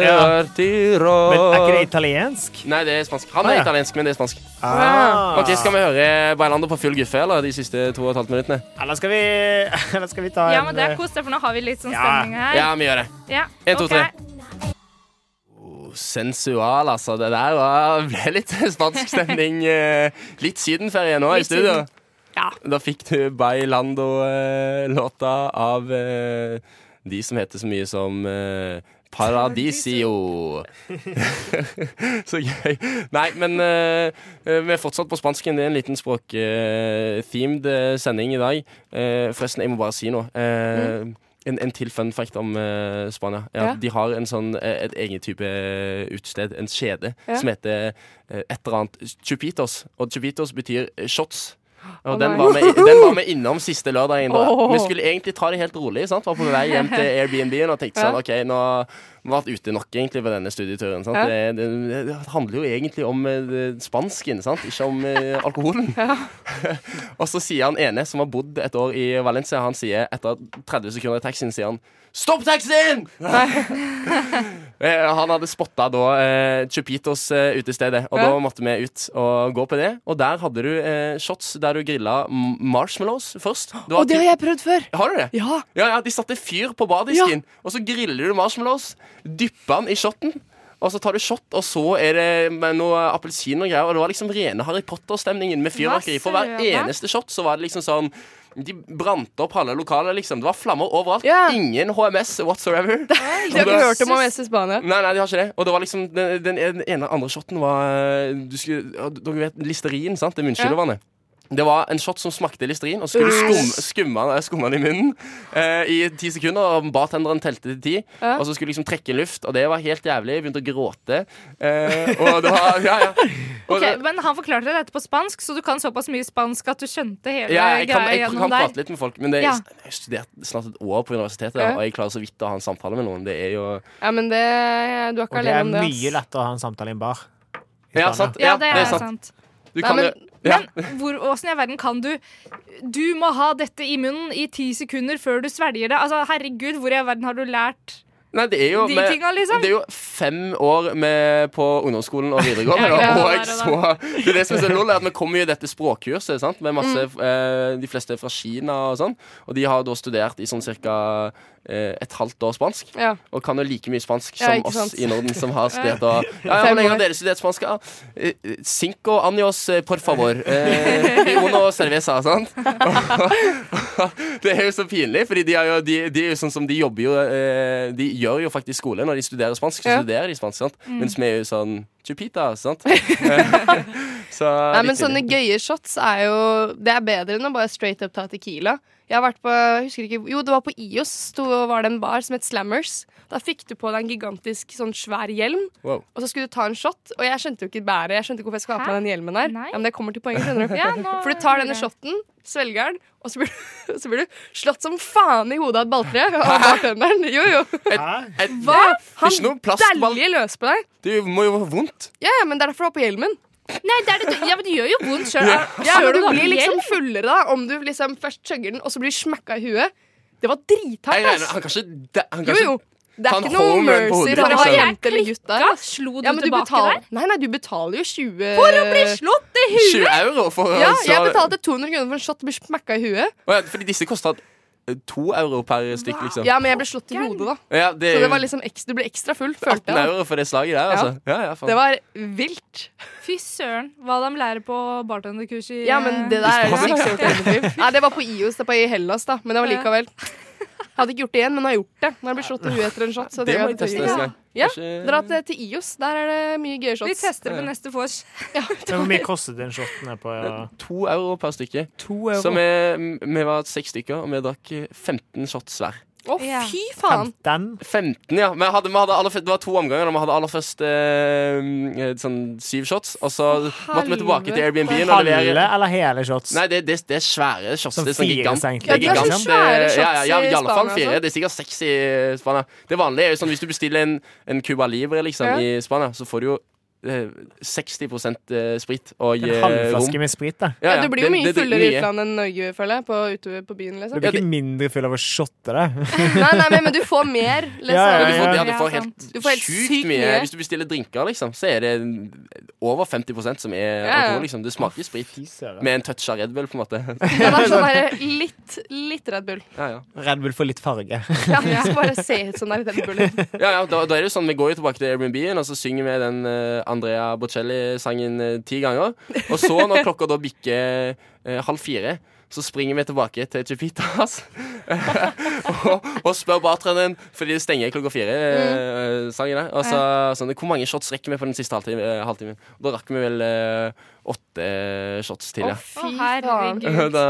D: Ja.
B: Artiro.
D: Men er ikke det italiensk?
B: Nei, det er spansk. Han
D: Ah,
B: er
D: ja.
B: italiensk, men det er spansk.
D: Ah.
B: Ok, Skal vi høre Beilander på full guffe eller de siste to og et halvt minuttene?
D: Eller skal vi, eller skal vi ta
F: Ja,
D: en
F: men det er
D: eh,
F: kos, det, for nå har vi litt sånn
D: Ja.
F: stemning her.
B: Ja, vi gjør det.
F: Ja,
B: En, to,
F: ok.
B: tre. Sensual, altså. Det der var, ble litt spansk stemning. eh, Litt sydenferie nå i
F: Litt
B: studio.
F: syden. Ja.
B: Da fikk du Bailando-låta av eh, de som heter så mye som eh, Paradisio. så gøy. Nei, men eh, eh, vi er fortsatt på spansken. Det er en liten språk-themed sending i dag. Eh, forresten, jeg må bare si noe. Eh, En, en til fun fact om eh, Spania. Ja,
H: Ja.
B: De har en sånn, eh, et egen type eh, utested, en kjede,
H: Ja.
B: som heter eh, et eller annet Chupitos. Og Chupitos betyr eh, shots. Og
F: Å
B: den
F: nei.
B: var, vi, den var vi innom siste lørdag.
F: Åh.
B: Vi skulle egentlig ta det helt rolig. Sant? Var på vei hjem til Airbnb-en og tenkte sånn OK, nå vi har vært ute nok egentlig på denne studieturen. Sant?
F: Ja.
B: Det, det, det handler jo egentlig om eh, spansken, sant? ikke om eh, alkoholen. og så sier han ene som har bodd et år i Valencia, han sier etter 30 sekunder i taxien sier han Stopp taxien! Eh, Han hadde spotta da eh, Chupitos eh, utestedet, og
F: Ja.
B: da måtte vi ut og gå på det. Og der hadde du eh, shots der du grilla m- marshmallows først. Du
H: Og det har jeg prøvd før.
B: har du det?
H: Ja.
B: Ja, ja, De satte fyr på bardisken, og så griller du marshmallows. Dypper den i shotten. Og så tar du shot, og så er det med noe appelsin og greier. Og det var liksom rene Harry Potter-stemningen med fyrverkeri. For hver
F: søren.
B: eneste shot så var det liksom sånn De brant opp halve lokalet, liksom. Det var flammer overalt.
H: Ja.
B: Ingen HMS whatsoever.
H: De har ikke hørt om AMS i Spania.
B: Nei, nei, de har ikke det. Og det var liksom den, den ene den andre shoten var eh, du skulle, ja, Dere vet Listerin, sant? Det munnskyllevannet. Det var en shot som smakte listerin, og så skulle du skum, skumme, den- skumme den i munnen eh, i ti sekunder. Og bartenderen telte til ti,
H: Ja.
B: og så skulle du liksom trekke luft, og det var helt jævlig. Jeg begynte å gråte. Eh, og det var Ja, ja. Og
F: Ok,
B: det,
F: men han forklarte deg dette på spansk, så du kan såpass mye spansk at du skjønte hele
B: ja, jeg kan,
F: greia
B: jeg kan
F: gjennom der.
B: prate litt med folk, men det,
F: Ja.
B: jeg har studert snart et år på universitetet,
H: Ja.
B: og jeg klarer så vidt å ha en samtale med noen. Det er jo
H: Ja, men det, du er ikke
D: Og det
H: alene
D: er
H: om det. ass.
D: mye lettere å ha en samtale i en bar. I
B: Ja,
D: Spania.
B: sant.
F: Ja, det er sant.
B: Du
H: Nei,
B: kan
H: men-
B: jo ja.
F: Men hvor, hvordan i all verden kan du Du må ha dette i munnen i ti sekunder før du svelger det. Altså, herregud, hvor i all verden har du lært
B: Nei, det er jo
F: de
B: med-
F: tinga, liksom?
B: Det er jo fem år med på ungdomsskolen og videregående.
F: Ja, ja,
B: og
F: ja,
B: jeg
F: ja,
B: så, det er det som er så lol, er at vi kommer jo i dette språkkurset sant? med masse
F: Mm.
B: eh, De fleste er fra Kina og sånn, og de har da studert i sånn cirka eh, et halvt år spansk.
H: Ja.
B: Og kan jo like mye spansk
H: Ja,
B: som
H: ikke
B: oss
H: sant.
B: i Norden som har studert. Og, ja, ja,
H: Fem
B: hvor lenge har
H: år.
B: dere studert spansk? Ja, eh, Cinco años, eh, por favor. Eh, y uno cerveza, sant? det er jo så pinlig, Fordi de, er jo, de, de er jo sånn som de jobber jo eh, De gjør jo faktisk skole når de studerer spansk. Så
H: Ja. Mm.
B: studerer de spansk, sant? Mens vi er jo sånn Chupita, sant? så,
H: Nei,
B: litt
H: men sånne
B: pinlig.
H: gøye shots er jo Det er bedre enn å bare straight up ta Tequila. Jeg har vært på jeg husker ikke, Jo, det var på IOS. Sto, var det en bar som het Slammers. Da fikk du på deg en gigantisk sånn svær hjelm,
B: Wow.
H: og så skulle du ta en shot. Og jeg skjønte jo ikke bæret. Jeg skjønte ikke hvorfor jeg skulle ha på
F: Hæ?
H: meg den hjelmen der.
F: Nei.
H: Ja, men det kommer til poenget, skjønner du.
F: Ja, nå-
H: For du tar denne shotten, svelger den, og så blir, du- så blir du slått som faen i hodet av et balltre. Av bartenderen. Jo, jo.
D: Hæ?
B: Et,
H: Hva?
B: Ikke noe
H: Han
B: plastball.
H: dæljer løs på deg.
B: Det må jo være vondt.
H: Ja, ja, men det er derfor du har på hjelmen.
F: Nei, det, er det, ja, men det gjør jo vondt sjøl.
H: Ja, men du blir liksom fullere da Om du liksom først chugger den, og så blir du smekka i huet. Det var
B: Nei,
H: drithardt,
B: nei,
H: ass!
B: han kan ikke det- han kan
H: Jo,
B: ikke-
H: jo. Det
B: Ta
H: er
B: en
H: ikke noe
B: home run på
H: mercy
B: hodet,
H: for
B: liksom.
H: ei jente eller gutt der. ass.
F: Slo du
H: Ja, men du
F: tilbake
H: betaler,
F: der?
H: nei, nei, du betaler jo 20
F: For å bli slått i huet!
B: 20 euro for å
H: Ja, jeg
B: slå-
H: betalte 200 kroner for en shot og ble smekka i huet.
B: Å ja, fordi disse kosta to euro per stykk, liksom.
H: Ja, men jeg ble slått i hodet, da.
B: Ja, det,
H: Så
B: er
H: det
B: jo
H: var liksom ekstra, du ble ekstra full,
B: 18
H: følte jeg. da.
B: euro for det slaget der, altså. Ja, ja, faen.
H: Det var vilt.
F: Fy søren, hva de lærer på bartenderkurs i eh,
H: Ja, men det der er
B: Spanien.
H: liksom ikke så gjort i hele mitt liv. Nei, det var på IOS, det var i Hellas, da. Men det var likevel. Jeg hadde ikke gjort det igjen, men jeg har gjort det. Når jeg ble slått i huet etter en shot. Så jeg
B: Det må
H: tenker at
B: de teste
H: trenger-
B: neste gang.
H: Ja,
B: Kanskje-
H: Dra til, til IOS. Der er det mye gøye
F: Vi
H: shots.
F: tester på neste vors.
D: Men Hvor mye kostet den shoten her på ja.
B: eh, To euro per stykke.
D: To
B: Så vi, vi var seks stykker, og vi drakk 15 shots hver.
H: Å,
F: Ja.
H: fy faen!
B: 15, ja. Vi hadde, vi hadde aller, det var to omganger. da. Vi hadde aller først eh, sånn syv shots, og så måtte vi tilbake til Airbnb-en og
D: Halve
B: levere
D: eller hele shots?
B: Nei, det, det, det er svære shots.
D: Som
B: det er sånn
D: fire,
B: gigant.
D: så egentlig.
B: det er
H: Ja, det er så
B: gigant,
H: svære
B: eh, ja, ja,
H: shots
B: ja,
H: i
B: i alle fall
H: Spania,
B: fire.
H: altså.
B: Det er sikkert seks i Spania. Det vanlige er jo sånn hvis du bestiller en, en Cuba Libre liksom,
H: Ja.
B: i Spania, så får du jo eh, 60 eh, sprit og
D: En
B: eh,
D: halvflaske
B: rom.
D: med sprit, da.
H: Ja, du blir jo
B: det-
H: mye
B: det- det-
H: fullere i
B: mye.
H: utlandet enn Norge, føler jeg. På, ute på byen,
D: Du
H: liksom.
B: Ja,
D: blir ikke mindre full av å shotte det.
H: Nei, nei, men, men du får mer, liksom.
D: Ja,
B: Ja, du får, ja, du
F: Ja,
B: får
F: sant.
B: helt
H: Du får helt
B: sjukt
H: sykt
B: mye.
H: mye.
B: Hvis du bestiller drinker, liksom, så er det over 50 som er
H: ja.
B: alkohol. Liksom. Det smaker sprit med en touch av Red Bull, på en måte.
H: Ja, det er sånn der, litt, litt Red Bull.
B: Ja, ja.
D: Red Bull får litt farge.
H: Ja, du skal bare se ut som det er Red Bull. liksom.
B: Ja, ja, da, da er det jo sånn, Vi går jo tilbake til Airbnb-en, og så synger vi den eh, Andrea Bocelli-sangen eh, ti ganger. Og så, når klokka da bikker eh, halv fire, så springer vi tilbake til Chupitas og, og spør bartenderen, fordi det stenger klokka fire, eh, sangen der. Og så, sånn, Hvor mange shots rekker vi på den siste halvtimen? halvtimen? Da rakk vi vel eh, åtte shotshots til, ja.
F: Å, herregud.
B: Da,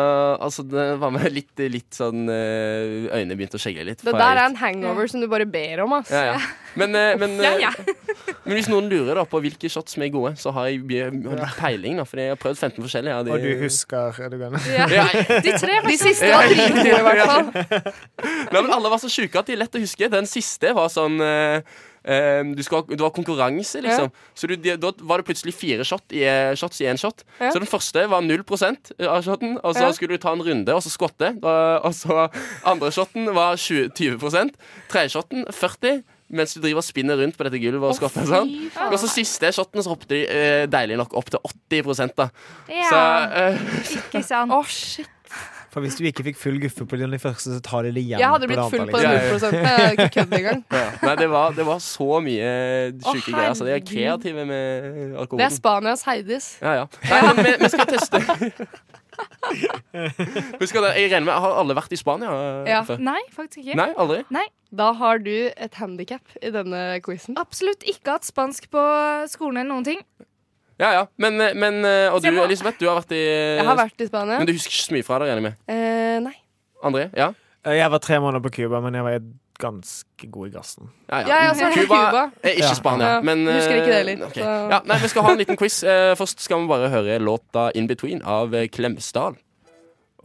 B: altså, det var med litt, litt sånn eh, Øynene begynte å skjegle litt.
H: Det
B: for
H: der er
B: jeg-
H: en hangover som du bare ber om, ass.
B: ja, ja. Men, eh, men,
H: Ja,
B: eh,
H: ja.
B: men hvis noen lurer da på hvilke shots som er gode, så har jeg bj- har litt peiling. da Fordi jeg har prøvd 15 forskjellige. ja, de-
D: Og du husker er du gønn?
B: Ja, jeg-
F: De tre
H: De
F: første
H: siste var dritgode, i hvert fall.
B: Nei, men Alle var så sjuke at de er lett å huske. Den siste var sånn eh, eh, du skal, ha- Det var konkurranse, liksom. Så du, de, da var det plutselig fire shot i, eh, shots i én shot.
H: Ja.
B: Så den første var 0 av shoten, og så
H: Ja.
B: skulle du ta en runde og så skvatte. Og, og så andre shoten var 20, 20 Tredje shoten 40 mens du driver og spinner rundt på dette gulvet og skvatter. Sånn. Og så siste shoten så hoppet de eh, deilig nok opp til 80 da. Så,
F: Ja,
B: eh,
F: ikke sant.
H: Å, shit.
D: For hvis du ikke fikk full guffe på den i første, så tar de det igjen.
H: Jeg hadde
D: på det
H: blitt
D: andre, liksom.
H: full på
B: Ja,
H: den
B: ja, ja.
H: 100 Jeg hadde ikke kødd engang.
B: ja. Nei, det var, det var så mye eh, sjuke greier. Så de er
H: herregud.
B: kreative med alkoholen.
H: Det er Spanias Heidis.
B: Ja, ja. Nei, men vi, vi skal teste. vi skal, jeg regner med, Har alle vært i Spania eh,
H: Ja.
B: før?
F: Nei, faktisk ikke.
B: Nei, aldri?
H: Da har du et handikap i denne quizen.
F: Absolutt ikke hatt spansk på skolen eller noen ting.
B: Ja, ja. Men, eh, men eh, Og du,
F: Så jeg må-
B: Elisabeth, du har vært i
H: Jeg har vært i Spania.
B: Eh, Men du husker ikke så mye fra det, regner jeg med?
H: Eh, nei.
B: André? Ja?
D: Jeg var tre måneder på Cuba, men jeg var ganske god i gassen.
B: Ja, ja.
H: Ja, jeg også har vært i
B: Cuba-
H: Cuba.
B: Eh, ikke
D: Ja.
B: Spania,
H: Ja,
B: men eh,
H: husker ikke det heller,
B: ok.
H: så-
B: ja, nei, Vi skal ha en liten quiz. Eh, Først skal vi bare høre låta In Between av eh, Klemsdal.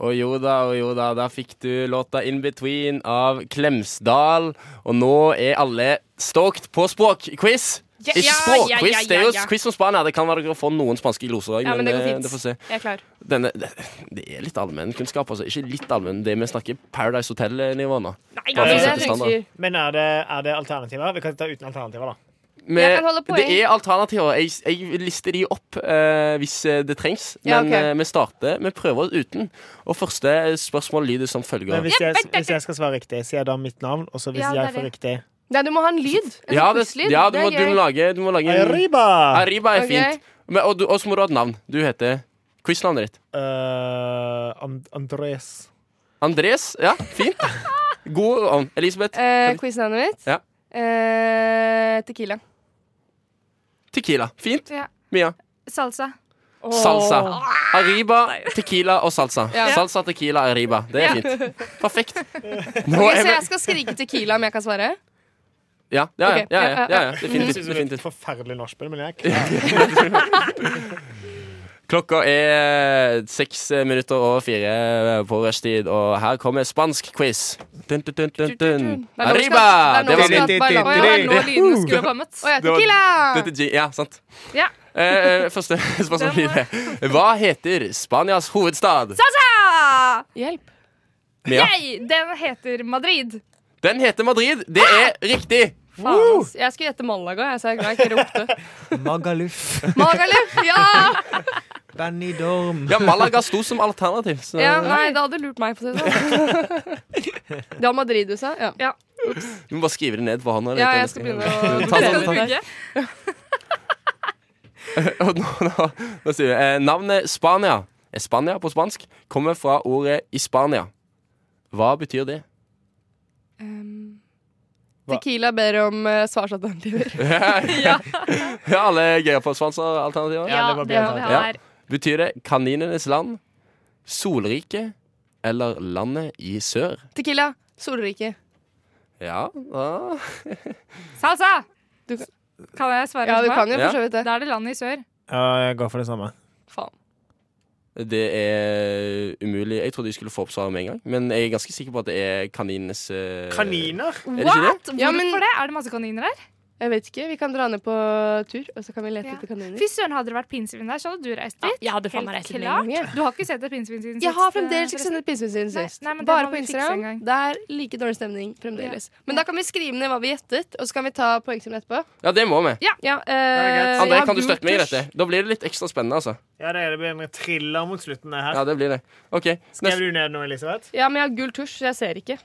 B: Og jo da, og jo da, der fikk du låta In Between av Klemsdal. Og nå er alle stoked på språkquiz.
F: Ja,
B: ikke
F: ja,
B: språkquiz,
F: ja, ja,
B: det er jo
F: ja.
B: quiz om Spania. Det kan være dere får noen spanske gloser òg,
H: Ja, men det går
B: eh,
H: fint.
B: det får se.
H: Jeg er klar.
B: Denne, det, det er litt allmennkunnskap, altså. Ikke litt allmenn, det vi snakker Paradise Hotel-nivå nå.
F: Nei,
B: Bare
H: Det
B: for å sette
H: er det jeg
B: standard.
H: tenker.
D: Men er det, er det alternativer? Vi kan ta uten alternativer, da.
B: Men
H: Jeg kan holde poeng.
B: det er alternativer. Jeg, jeg lister de opp eh, hvis eh, det trengs. Men
H: Ja, ok.
B: eh, vi starter Vi prøver oss uten. Og første eh, spørsmål lyder som
D: Men
B: følger.
D: hvis jeg, hvis jeg skal svare riktig, sier jeg da mitt navn, og så hvis
F: Ja, det er
D: jeg får riktig
H: Nei, du må ha en lyd. En
B: Ja, det,
H: quiz-lyd.
B: ja du,
H: Det er
B: må, du,
H: gøy.
B: må lage, du må lage en-
D: Arriba!
B: Arriba er
H: Ok.
B: fint. Men, og, du, og så må du ha et navn. Du heter Quiznavnet ditt.
D: Eh, And- Andres.
B: Andres. Ja, fint. God ånd. Elisabeth.
H: Eh, Quiznavnet mitt?
B: Ja.
H: Eh, tequila.
B: Tequila. Fint.
F: Ja.
B: Mia.
F: Salsa.
B: Salsa. Arriba, tequila og salsa.
H: Ja.
B: Salsa, tequila, arriba. Det er fint. Perfekt. Nå
H: Ok,
B: er
H: så
B: vi
H: jeg skal skrike tequila om jeg kan svare?
B: Ja, ja, ja. ja,
H: Ok, ja,
B: ja,
H: ja,
B: ja, ja.
D: Jeg
B: Definitivt.
D: synes det er et
B: definitivt.
D: forferdelig nachspiel, men jeg er klar.
B: Klokka er seks minutter over fire på rushtid, og her kommer spansk quiz. Dun, dun, dun, dun, dun.
H: Det er nå vi skal-
B: Arriba! Det
H: det er nå vi
B: var
H: skal
B: min.
H: ha
F: Å ja, det er nå
H: ballong.
F: lyden skulle ha kommet.
H: Å ja,
B: Det var-
H: tequila!
B: Dette G- Ja, sant.
F: Ja.
B: Eh, eh, første spørsmål
F: Den
B: videre. Hva heter Spanias hovedstad?
F: Salsa!
H: Hjelp.
B: Mia.
F: Jeg, den heter Madrid.
B: Den heter Madrid. Det er
H: Ah!
B: riktig.
H: Faen, ass. Jeg skulle gjette Malaga, jeg, så jeg er glad jeg ikke ropte.
D: Magaluf.
H: Magaluf, ja!
D: Benny Dorm.
B: Ja, Malaga sto som alternativ. Så.
H: ja! Nei, da hadde du lurt meg, for å si det sånn. Det var Madrid du sa? Ja.
B: Du må bare skrive det ned på hånda.
H: Ja, jeg skal begynne å
B: Ta den,
H: Skal
B: ta den.
H: du bruke?
B: Og nå, nå, nå sier vi eh, Navnet Spania Spania på spansk kommer fra ordet Ispania. Hva betyr det?
H: Um, Tequila ber om uh, svarsalternativer.
B: ja. Alle er gøya på sponsoralternativer.
D: Ja,
F: Ja,
D: det var bedre.
F: det må
B: Ja.
F: vi ha her.
B: Betyr det kaninenes land, solriket eller landet i sør?
H: Tequila, Solrike.
B: Ja, da
F: Salsa!
H: Du kan-
F: Kan jeg svare?
H: Ja, du
F: etterpå?
H: kan jo
B: Ja.
H: for så vidt det.
F: Da er det landet i sør.
D: Ja, jeg går for det samme.
H: Faen.
B: Det er umulig. Jeg trodde jeg skulle få opp svaret med en gang, men jeg er ganske sikker på at det er kaninenes eh,
D: Kaniner?
B: Er det ikke det?
F: Hvorfor
H: Ja, men-
F: det? Er det masse kaniner her?
H: Jeg vet ikke. Vi kan dra ned på tur, og så kan vi lete
F: Ja.
H: etter kaniner.
F: Fy søren, hadde det vært pinnsvin der, så hadde du reist dit.
E: Jeg hadde faen meg
F: Helt
E: reist med
F: klart.
E: en gang.
F: Du har ikke sett et pinnsvin siden
H: Jeg har
F: sist,
H: fremdeles
F: eh,
H: ikke sendt pinnsvin siden
F: Nei,
H: sist.
F: nei, men det
H: Bare
F: må
H: på
F: vi fikse en
H: Instagram.
F: gang.
H: Det er like dårlig stemning fremdeles. Men da kan vi skrive ned hva vi gjettet, og så kan vi ta poengsum etterpå.
B: Ja, det må vi.
H: Ja, eh,
D: greit.
B: André,
H: jeg har
B: kan du
H: gul
B: støtte meg i
H: tusj.
B: dette? Da blir det litt ekstra spennende, altså.
D: Ja, det, er, det blir en thriller mot slutten. det her
B: Ja, det blir det. OK.
D: Skrev du ned noe, Elisabeth?
H: Ja, men jeg har gul tusj, så jeg ser ikke.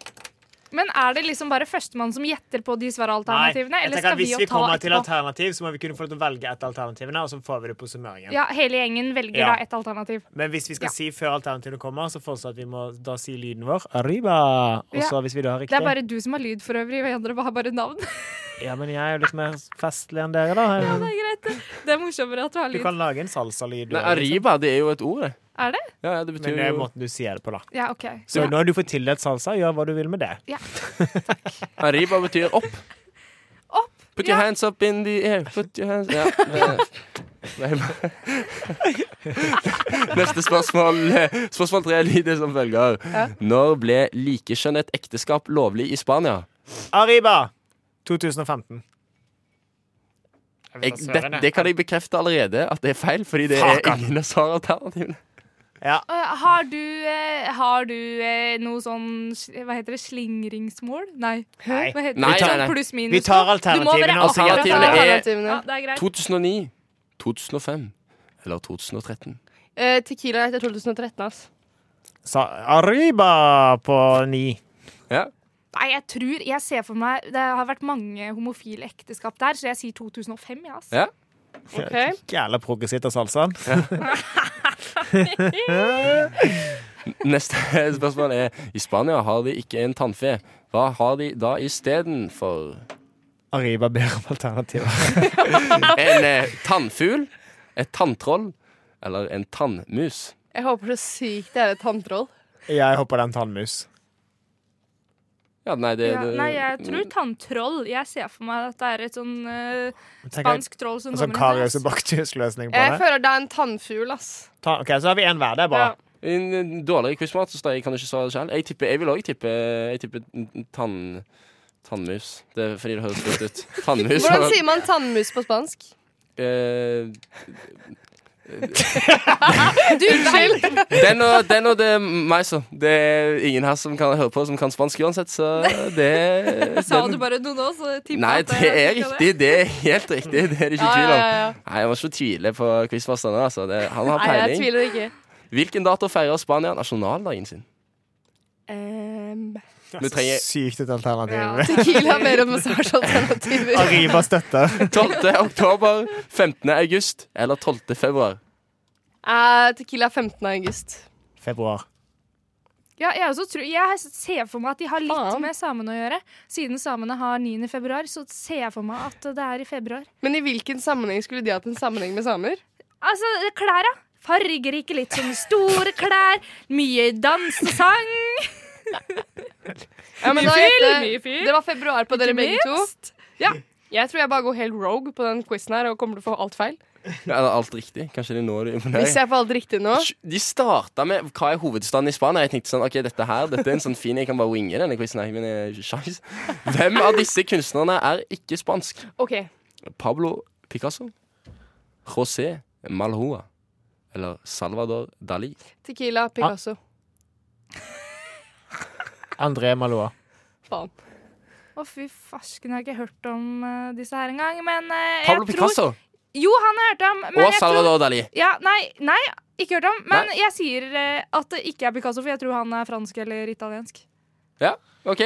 F: Men er det liksom bare førstemann som gjetter på de svaralternativene?
D: jeg
F: Eller
D: tenker
F: skal
D: at
F: vi
D: Hvis
F: jo
D: vi
F: ta
D: kommer til
F: etterpå?
D: alternativ, så må vi kunne få lov til å velge et av alternativene, og så får vi det på summeringen.
F: Ja, hele gjengen velger
D: Ja.
F: da et alternativ.
D: Men hvis vi skal
F: Ja.
D: si før alternativene kommer, så foreslår jeg at vi må da si lyden vår. Arriba! Og så
F: Ja.
D: hvis vi da har riktig
F: Det er bare du som har lyd for øvrig, og andre har bare navn.
D: Ja, men jeg er jo litt mer festlig enn dere, da.
F: det er greit. Det er morsommere at du har
D: Du
F: lyd.
D: kan lage en salsalyd. du
B: Nei,
D: også, liksom.
B: Arriba, det er jo et ord, det.
F: Er det?
B: Ja, ja, det betyr
D: Men det er
B: jo
D: måten du sier det på, da.
F: Ja, OK.
D: Så nå har du fått tildelt salsa, gjør hva du vil med det.
B: Arriba betyr opp.
F: Opp,
B: Put your
F: ja.
B: hands up in the air. Put your hands Ja. det er bare- Neste spørsmål. Spørsmål tre lyder som følger. Når ble likekjønnet ekteskap lovlig i Spania?
D: Arriba! 2015.
B: Jeg, det, det kan jeg bekrefte allerede at det er feil, fordi det er
D: Fakan.
B: ingen av svaralternativene.
D: Ja.
F: Eh, har du, eh, har du eh, noe sånn sl- Hva heter det? Slingringsmål? Nei.
D: Nei.
F: Hva heter
B: Nei, nei,
F: det? Sånn
B: nei.
F: pluss-minus.
D: Vi tar
F: Du må være
D: alternativene og sier at
B: Alternativene
F: akkurat- sånn.
B: er
F: Ja,
H: Alternativene.
F: det er greit.
B: 2009, 2005 eller 2013.
H: Eh, tequila etter 2013, ass.
D: Sa Arriba på ni.
B: Ja.
F: Nei, jeg tror Jeg ser for meg Det har vært mange homofile ekteskap der, så jeg sier 2005, ja. ass.
B: Ja.
H: Ok.
D: Jævla progressivt av salsaen.
B: Neste spørsmål er I Spania har de ikke en tannfe. Hva har de da istedenfor?
D: Arriba ber om alternativer.
B: En eh, tannfugl, et tanntroll eller en tannmus?
H: Jeg håper så sykt det er et tanntroll.
D: Jeg hopper den tannmus.
B: Ja, nei, det,
F: Ja,
B: det
F: nei, jeg tror tanntroll. Jeg ser for meg at det er et sånn eh,
D: Spansk.
F: spansk troll som
D: En sånn
F: kommer inn
D: Karius og Baktus-løsning på
H: Jeg
D: det.
H: føler det er en tannfugl, ass.
D: Ta, ok, Så har vi én hver. Det er bra.
H: Ja.
B: En en dårligere quizmat, så jeg kan ikke svare selv. Jeg, tipper, jeg vil òg tippe Jeg tipper tann... Tannmus. Det er fordi det høres godt ut. Tannmus.
H: Hvordan sier man tannmus på spansk?
B: Eh,
H: Du, unnskyld!
B: den, og, den og det er meg, så. Det er ingen her som kan høre på som kan spansk uansett, så det
F: Sa
B: den-
F: du bare noe nå, så tipper jeg
B: Nei,
F: at
B: det er
F: jeg skal
B: riktig. Det er helt riktig. Det er det ikke
H: Ja,
B: tvil
H: ja,
B: om.
H: ja, ja.
B: Nei, Jeg må ikke tvile på quizmasteren. Altså. Det, han har
H: Nei, jeg
B: peiling.
H: tviler ikke.
B: Hvilken dato feirer Spania nasjonaldagen sin?
H: Ehm,
B: Vi trenger
D: Sykt et alternativ.
F: Ja.
H: tequila ber om massasjealternativer.
D: Arriba støtter.
B: 12. oktober, 15. august eller 12. februar.
H: Eh, tequila 15. august.
D: Februar.
F: Ja, jeg, også tror, jeg ser for meg at de har litt
H: Faen.
F: med samene å gjøre. Siden samene har 9. februar, så ser jeg for meg at det er i februar.
H: Men i hvilken sammenheng skulle de hatt en sammenheng med samer?
F: Altså, klær, da. Fargerike, litt sånn store klær. Mye dans og sang.
H: Ja, men
F: Mye
H: da
F: fyll,
H: gjetter-
F: mye fyll.
H: Det var februar på dere
F: Ikke
H: begge to. Ja. Jeg tror jeg bare går helt rogue på den quizen her og kommer til å få alt feil.
B: Ja, Eller alt riktig. Kanskje det er nå du
H: Hvis
B: imponerer.
H: jeg får alt riktig nå.
B: De starta med hva er hovedstaden i Spania. Jeg tenkte sånn, ok, dette her, dette er en sånn fin Jeg kan bare winge denne quizen. her, men jeg har ikke sjans. Hvem av disse kunstnerne er ikke spansk?
H: OK.
B: Pablo Picasso? José Malhoa? Eller Salvador Dali? Ah.
H: Tequila Picasso.
D: André Maloa.
H: Faen.
F: Å, fy farsken, jeg har ikke hørt om eh, disse her engang. Men eh, jeg
B: Pablo
F: tror
B: Picasso
F: Jo, han har jeg hørt om. Men
B: og
F: jeg tror
B: Salvador Dali.
F: ja, nei, nei, ikke hørt om. Men jeg sier eh, at det ikke er Picasso, for jeg tror han er fransk eller italiensk.
B: OK.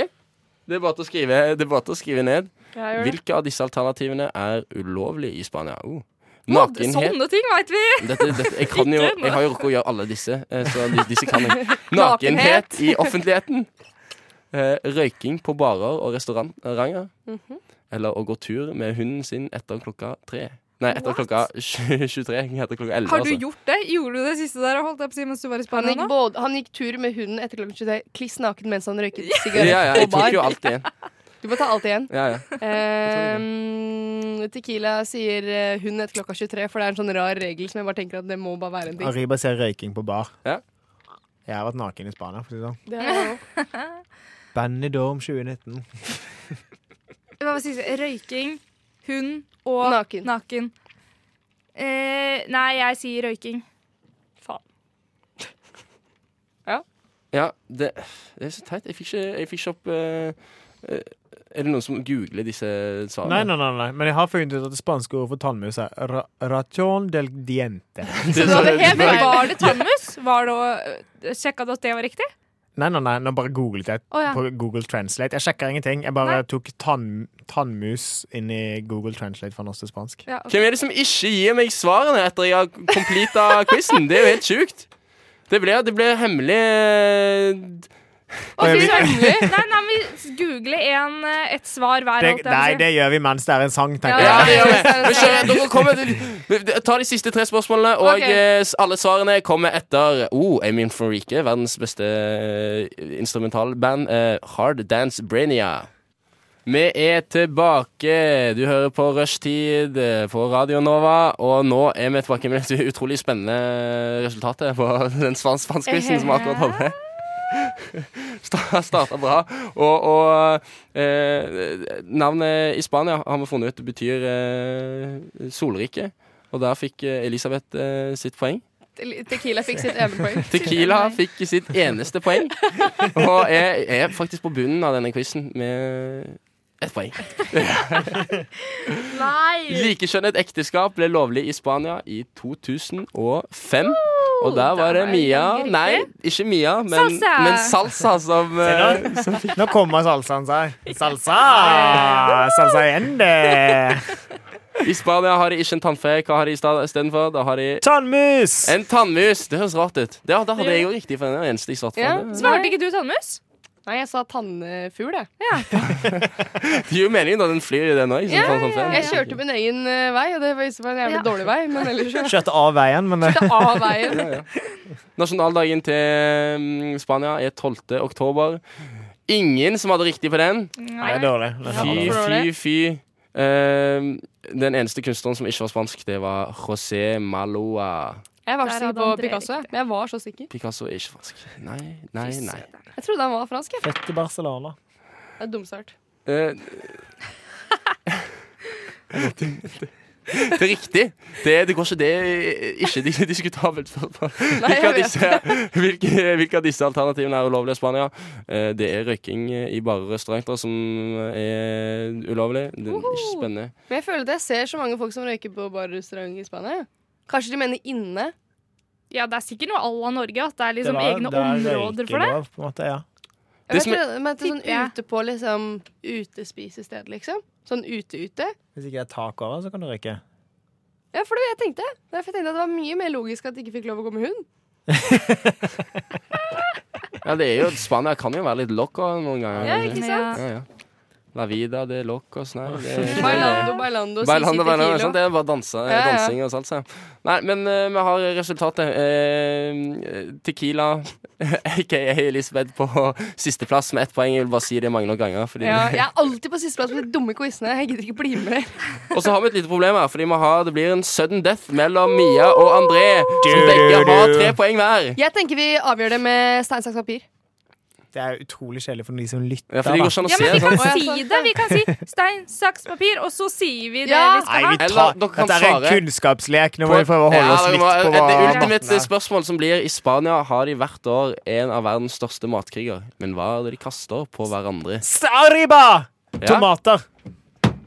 B: Det er bare til å skrive, det er bare til å skrive ned.
H: Jeg gjør det.
B: Hvilke av disse alternativene er ulovlige i Spania? Oh.
F: Å,
B: Nakenhet
F: Sånne ting veit vi!
B: dette, dette, jeg, kan jo, jeg har jo rukket å gjøre alle disse, eh, så de- disse kan jeg. Nakenhet
H: Nakenhet.
B: i offentligheten. Eh, Røyking på barer og restauranter. Eller å gå tur med hunden sin etter klokka tre. Nei, etter klokka 23. Etter klokka 11,
F: Har du
B: altså.
F: gjort det? Gjorde du det siste der? Holdt jeg på å si mens du var i
H: Han
F: Spania
H: gikk,
F: nå?
H: både, han gikk tur med hunden etter klokken 23, kliss naken mens han røyket
B: Ja,
H: sigarett
B: ja, jeg
H: på bar.
B: tok jo alt igjen.
H: Du må ta alt igjen.
B: Ja, ja.
H: Ehm, tequila sier eh, hun etter klokka 23, for det er en sånn rar regel som jeg bare tenker at det må bare være en ting.
D: Arriba ser røyking på bar.
B: Ja.
D: Jeg har vært naken i Spania. for å si det sånn.
H: Det er jo-
D: Benidorm 2019.
F: Hva var siste? Røyking, hund og
H: Naken.
F: naken. Eh, nei, jeg sier røyking.
B: Ja, det, det er så teit. Jeg fikk ikke, jeg fikk ikke opp eh, eh, Er det noen som googler disse
D: Nei,
B: svarene?
D: nei, nei, nei, men jeg har funnet ut at det spanske ordet for tannmus er ra ration del diente.
B: Det er
F: Så
B: sånn-
F: det helt, var det tannmus? Var det å, sjekka du eh, at det var riktig?
D: Nei, nei, nei, nå bare googlet jeg
F: Å, ja.
D: på Google Translate. Jeg sjekker ingenting. Jeg bare
F: Nei.
D: tok tann, tannmus inn i Google Translate fra norsk til spansk.
F: Ja, ok.
B: Hvem er det som ikke gir meg svarene etter jeg har completa quizen? Det er jo helt sjukt. Det ble, det ble hemmelig eh,
D: Oi,
F: Å, fy
D: vi-
F: søren. Nei, nei, men vi googler en, eh, et svar hver.
D: Det,
F: holdt jeg på å
D: nei,
F: si.
D: det gjør vi mens det er en sang, tenker
B: Ja,
F: Ja,
B: det
D: jeg.
B: gjør vi.
F: det er
B: Men
F: det.
B: kjør, dere kommer til- Ta de siste tre spørsmålene, og
F: Ok.
B: eh, s- alle svarene kommer etter oh, Amin Farike, verdens beste eh, instrumentalband, eh, Hard Dance Brainia. Vi er tilbake. Du hører på Rushtid eh, på Radio Nova. Og nå er vi tilbake med det utrolig spennende resultatet på den svans- spanskquizen som vi akkurat holdt med. Starta bra. Og, og eh, navnet i Spania har vi funnet ut betyr eh, solrike. Og der fikk eh, Elisabeth eh, sitt poeng.
H: Te- Tequila fikk sitt ene poeng.
B: Tequila fikk sitt eneste poeng. Og jeg er faktisk på bunnen av denne quizen med ett poeng.
C: Nei!
B: Likekjønnet ekteskap ble lovlig i Spania i 2005. Og der var det
F: der var det
B: Mia
F: ganske
B: Nei, ikke Mia, men
F: Salsa!
B: men Salsa som eh,
D: Nå kommer salsaen seg. Salsa! Salsa ende!
B: I Spania har de ikke en tannfe. Hva har de i stedet- istedenfor? Da har de
D: Tannmus!
B: En tannmus! Det høres rart ut. Ja, da hadde jeg jo riktig, for den er den eneste jeg svarte
H: Ja.
B: for.
F: Svarte ikke du tannmus?
H: Nei, jeg sa tannfugl, jeg.
B: Det gir jo mening da den flyr i den òg.
H: Ja, Jeg kjørte min egen eh, vei, og det var var en jævlig dårlig vei, men ellers kjørte
D: Kjørte av veien, men det
H: jeg av veien.
B: Nasjonaldagen til mm, Spania er 12. oktober. Ingen som hadde riktig på den.
D: det er dårlig. Det er
B: Fy,
D: dårlig.
B: fy, fy. Ehm, den eneste kunstneren som ikke var spansk, det var José Maloa.
H: Jeg var
F: Der
H: så sikker
F: hadde
H: på
F: han det
H: Picasso, men jeg var så sikker.
B: Picasso er ikke fransk. Nei, nei, nei.
H: Jeg trodde han var fransk, jeg.
D: Fett i Barcelona.
H: Det er dumstart.
B: Eh, det er riktig. Det, det går ikke det Ikke dis- diskutabelt spørsmål. Hvilke av disse, hvilke, hvilke av disse alternativene er ulovlige i Spania? Eh, Det er røyking i bare restauranter som er ulovlig. Det er ikke spennende.
H: Men jeg føler at jeg ser så mange folk som røyker på bar og restaurant i Spania. Kanskje de mener inne?
F: Ja, det er sikkert noe à la Norge. At det er liksom egne områder for det.
D: røykelov, På en måte, ja.
H: Jeg
B: Det
H: vet,
B: som er-
H: ikke, men at det er sånn
F: Tipper jeg.
H: ute på liksom utespisested, liksom. Sånn ute-ute.
D: Hvis ikke det er tak over, så kan du røyke.
H: Ja, for det var det jeg tenkte. Derfor tenkte jeg at det var mye mer logisk at de ikke fikk lov å gå med hund.
B: Ja, det er jo, Spania kan jo være litt loco noen ganger.
H: Ja, ikke sant?
B: Ja, ja. La vida de locos, nei. Det er ikke
H: Bailando, bailando,
B: Bailando, bailando,
H: sisi tequila.
B: sant? Det er bare danse,
H: ja.
B: dansing og salsa. Nei, men eh, vi har resultatet. Eh, tequila, aka Elisabeth, på sisteplass med ett poeng. Jeg vil bare si det mange nok ganger. Fordi
H: Ja, jeg er alltid på sisteplass på de dumme quizene. Jeg gidder ikke bli med.
B: Og så har vi et lite problem her, fordi vi har, det blir en sudden death mellom Mia og André. Som begge har tre poeng hver.
H: Jeg tenker vi avgjør det med stein, saks, papir.
D: Det er utrolig kjedelig for de som
B: Ja,
D: lytter.
B: for det går sånn
D: da.
B: ikke an å
F: Ja,
B: se.
F: men vi kan
B: sant?
H: sant?
F: si det. Vi kan si stein, saks, papir, og så sier vi det
H: Ja.
F: vi
D: Nei,
F: skal ha.
D: vi
B: Eller
D: tar,
B: dere kan
D: dette er en
B: svare.
D: kunnskapslek. Nå må vi prøve å holde
B: Ja,
D: oss
B: det
D: litt
B: må-
D: på hva
B: Det
D: debatten
B: ultimate
D: er.
B: spørsmål som blir I Spania har de hvert år en av verdens største matkriger. Men hva er det de kaster på hverandre?
D: Sariba!
B: Ja.
D: Tomater.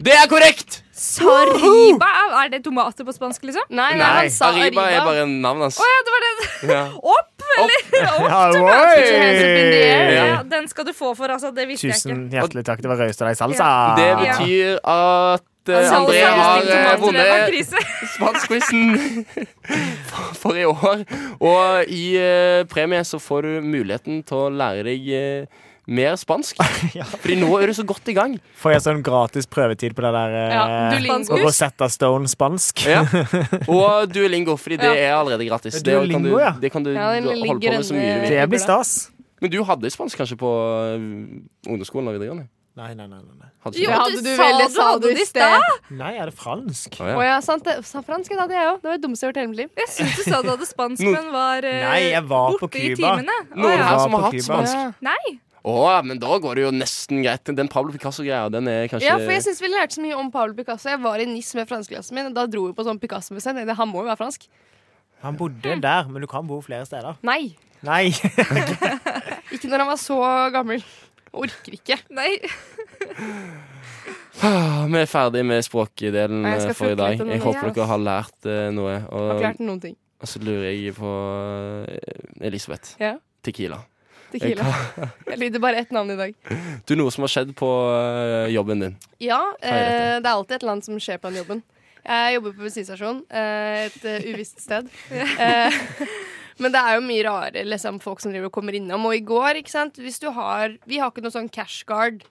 B: Det er korrekt!
F: Sariba? Er det tomater på spansk, liksom?
H: Nei, nei,
D: Nei,
H: han sa Arriba.
B: er bare navnet hans.
F: Ja, det var det.
B: Ja.
F: Opp, eller? Opp.
D: Ja,
H: your hands up in the air.
D: oi!
F: Ja, den skal du få for, altså. Det visste jeg ikke.
D: Tusen hjertelig takk. Det var raust av deg, Salsa.
B: Det betyr at eh,
F: Altså,
B: André
F: alle
B: har eh,
F: sammen tomater, det var
B: vunnet
F: krise.
B: spanskquizen for, for i år. Og i eh, premie så får du muligheten til å lære deg eh, mer spansk.
D: Ja.
B: Fordi nå er du så godt i gang.
D: Får jeg sånn gratis prøvetid på det der eh,
H: Ja, Duolingo.
D: Rosetta Stone spansk?
B: Ja. Og duolingo, fordi det er allerede gratis.
D: Det er
B: kan du,
D: Duolingo, ja.
B: det kan du
H: Ja, den
B: holde på
H: ligger
B: med så
H: inne-
B: mye du vil.
D: Det blir stas.
B: Men du hadde spansk kanskje på eh, ungdomsskolen og videregående?
D: Nei, nei, nei. nei.
B: Hadde
F: Jo,
H: Det
B: ikke det?
H: hadde
F: du
H: du
F: sa
H: vel, det
F: du
H: sa
F: hadde
H: du
F: det
H: i
F: i
H: sted.
D: Nei, er det fransk?
B: Å,
H: Å
B: ja.
H: ja, sant. Det, sa fransk, det hadde jeg òg. Det var det dummeste jeg har hørt i hele mitt liv.
F: Jeg syns du sa du hadde spansk, men var, eh,
D: Nei, jeg var på
F: borte i
D: Cuba.
F: timene. Å,
B: Noen
F: ja.
B: her
D: Ja,
B: som har
D: på
B: hatt
D: Cuba.
B: spansk.
H: Ja.
F: Nei.
B: Å, men da går det jo nesten greit. Den Pablo Picasso-greia, den er kanskje
H: Ja, for jeg synes vi lærte så mye om Paolo Picasso. Jeg var i Nis med franskklassen min, og da dro vi på sånn Picasso-museum. Jeg tenkte, Han må jo være fransk.
D: Han bodde der, men du kan bo flere steder.
H: Nei.
D: Nei.
H: Ikke når han var så gammel. Orker ikke.
F: Nei.
B: Ah, Vi er ferdig med språkdelen
H: Nei, jeg skal
B: eh, for i
H: plukke
B: dag.
H: litt av noe.
B: Jeg håper
F: Ja.
B: dere har lært eh, noe.
H: Har ikke
B: Og,
H: lært noen ting.
B: og så lurer jeg på eh, Elisabeth.
H: Ja.
B: Tequila.
H: Tequila. Jeg likte bare ett navn i dag.
B: Du, noe som har skjedd på eh, jobben din.
H: Ja,
B: heter
H: eh, det er alltid et eller annet som skjer på den jobben. Jeg jobber på bensinstasjon, eh, et eh, uvisst sted. Eh, men det er jo mye rare liksom, folk som driver og kommer innom. Og i går, ikke sant Hvis du har, Vi har ikke noe sånn cash guard.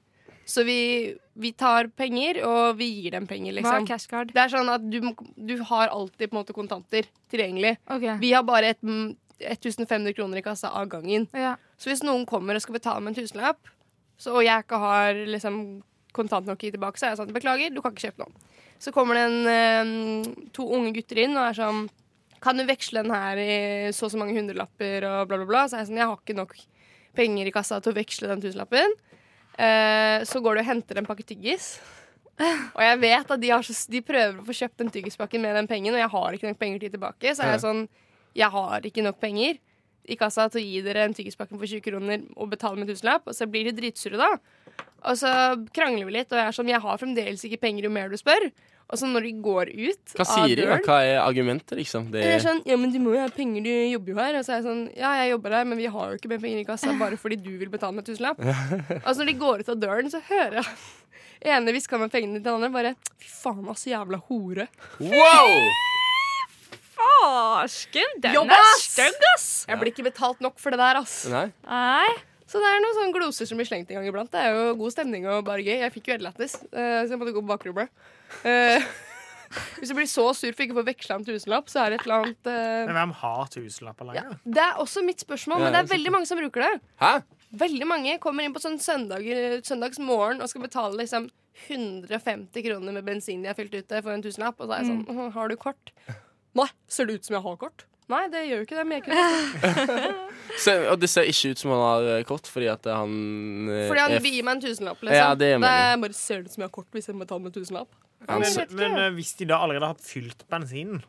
H: Så vi, vi tar penger, og vi gir dem penger,
F: Hva er
H: liksom.
F: cashcard?
H: Det er sånn at du, må- du har alltid på en måte kontanter tilgjengelig.
F: Ok.
H: Vi har bare et, mm, 1500 kroner i kassa av gangen.
F: Ja.
H: Så hvis noen kommer og skal betale med en tusenlapp, så, og jeg ikke har liksom, kontant nok å gi tilbake, så er jeg sånn Beklager, du kan ikke kjøpe noe. Så kommer det en, eh, to unge gutter inn og er sånn Kan du veksle den her i så og så mange hundrelapper og bla, bla, bla? Så er jeg sånn Jeg har ikke nok penger i kassa til å veksle den tusenlappen. Eh, så går du og henter en pakke tyggis. Og jeg vet at de, har så, de prøver å få kjøpt den tyggispakken med den pengen, og jeg har ikke nok penger til å gi tilbake. Så er jeg sånn Jeg har ikke nok penger i kassa til å gi dere en tyggispakke for 20 kroner og betale med tusenlapp, og så blir de dritsure da. Og så krangler vi litt, og jeg er sånn Jeg har fremdeles ikke penger jo mer du spør. Og så når de går ut
B: Hva sier de? da? Hva er argumentet, liksom? Det
H: jeg er
B: er,
H: sånn, ja, men du må jo ha penger, du jobber jo her. Og så er jeg sånn, ja, jeg jobber her, men vi har jo ikke mer penger i kassa bare fordi du vil betale med tusenlapp. altså, når de går ut av døren, så hører jeg ene hvisker med pengene til den andre bare Fy faen, altså, jævla hore.
B: wow!
C: Farsken, den
H: Jobb,
C: er
H: ass!
C: stygg, ass!
H: Jeg blir ikke betalt nok for det der, ass.
B: Nei?
C: Nei.
H: Så det er noen sånne gloser som blir slengt en gang iblant. Det er jo god stemning og bare gøy. Jeg fikk jo ellattis, eh, så jeg måtte gå på bakrommet. Eh, hvis du blir så sur for ikke å få veksla en tusenlapp, så er det et eller annet eh,
D: Men hvem har tusenlapper lenger?
H: Det er også mitt spørsmål, men det
B: Ja,
H: er veldig mange som bruker det.
B: Hæ?
H: Veldig mange kommer inn på sånn søndager, søndagsmorgen og skal betale liksom 150 kroner med bensin de har fylt ute for en tusenlapp. Og så er jeg sånn «Åh, Har du kort? Nei. Ser det ut som jeg har kort? Eh, Nei, det gjør jo ikke det. Men jeg kunne
B: Se, og det ser ikke ut som han har eh, kort, fordi at han eh,
H: Fordi han
B: er f-
H: vil gi meg en tusenlapp, liksom.
B: Ja, det er meningen.
H: jeg bare ser det ut som jeg har kort hvis jeg betaler med en tusenlapp.
B: han,
D: Men, men eh, hvis de da allerede har fylt bensinen,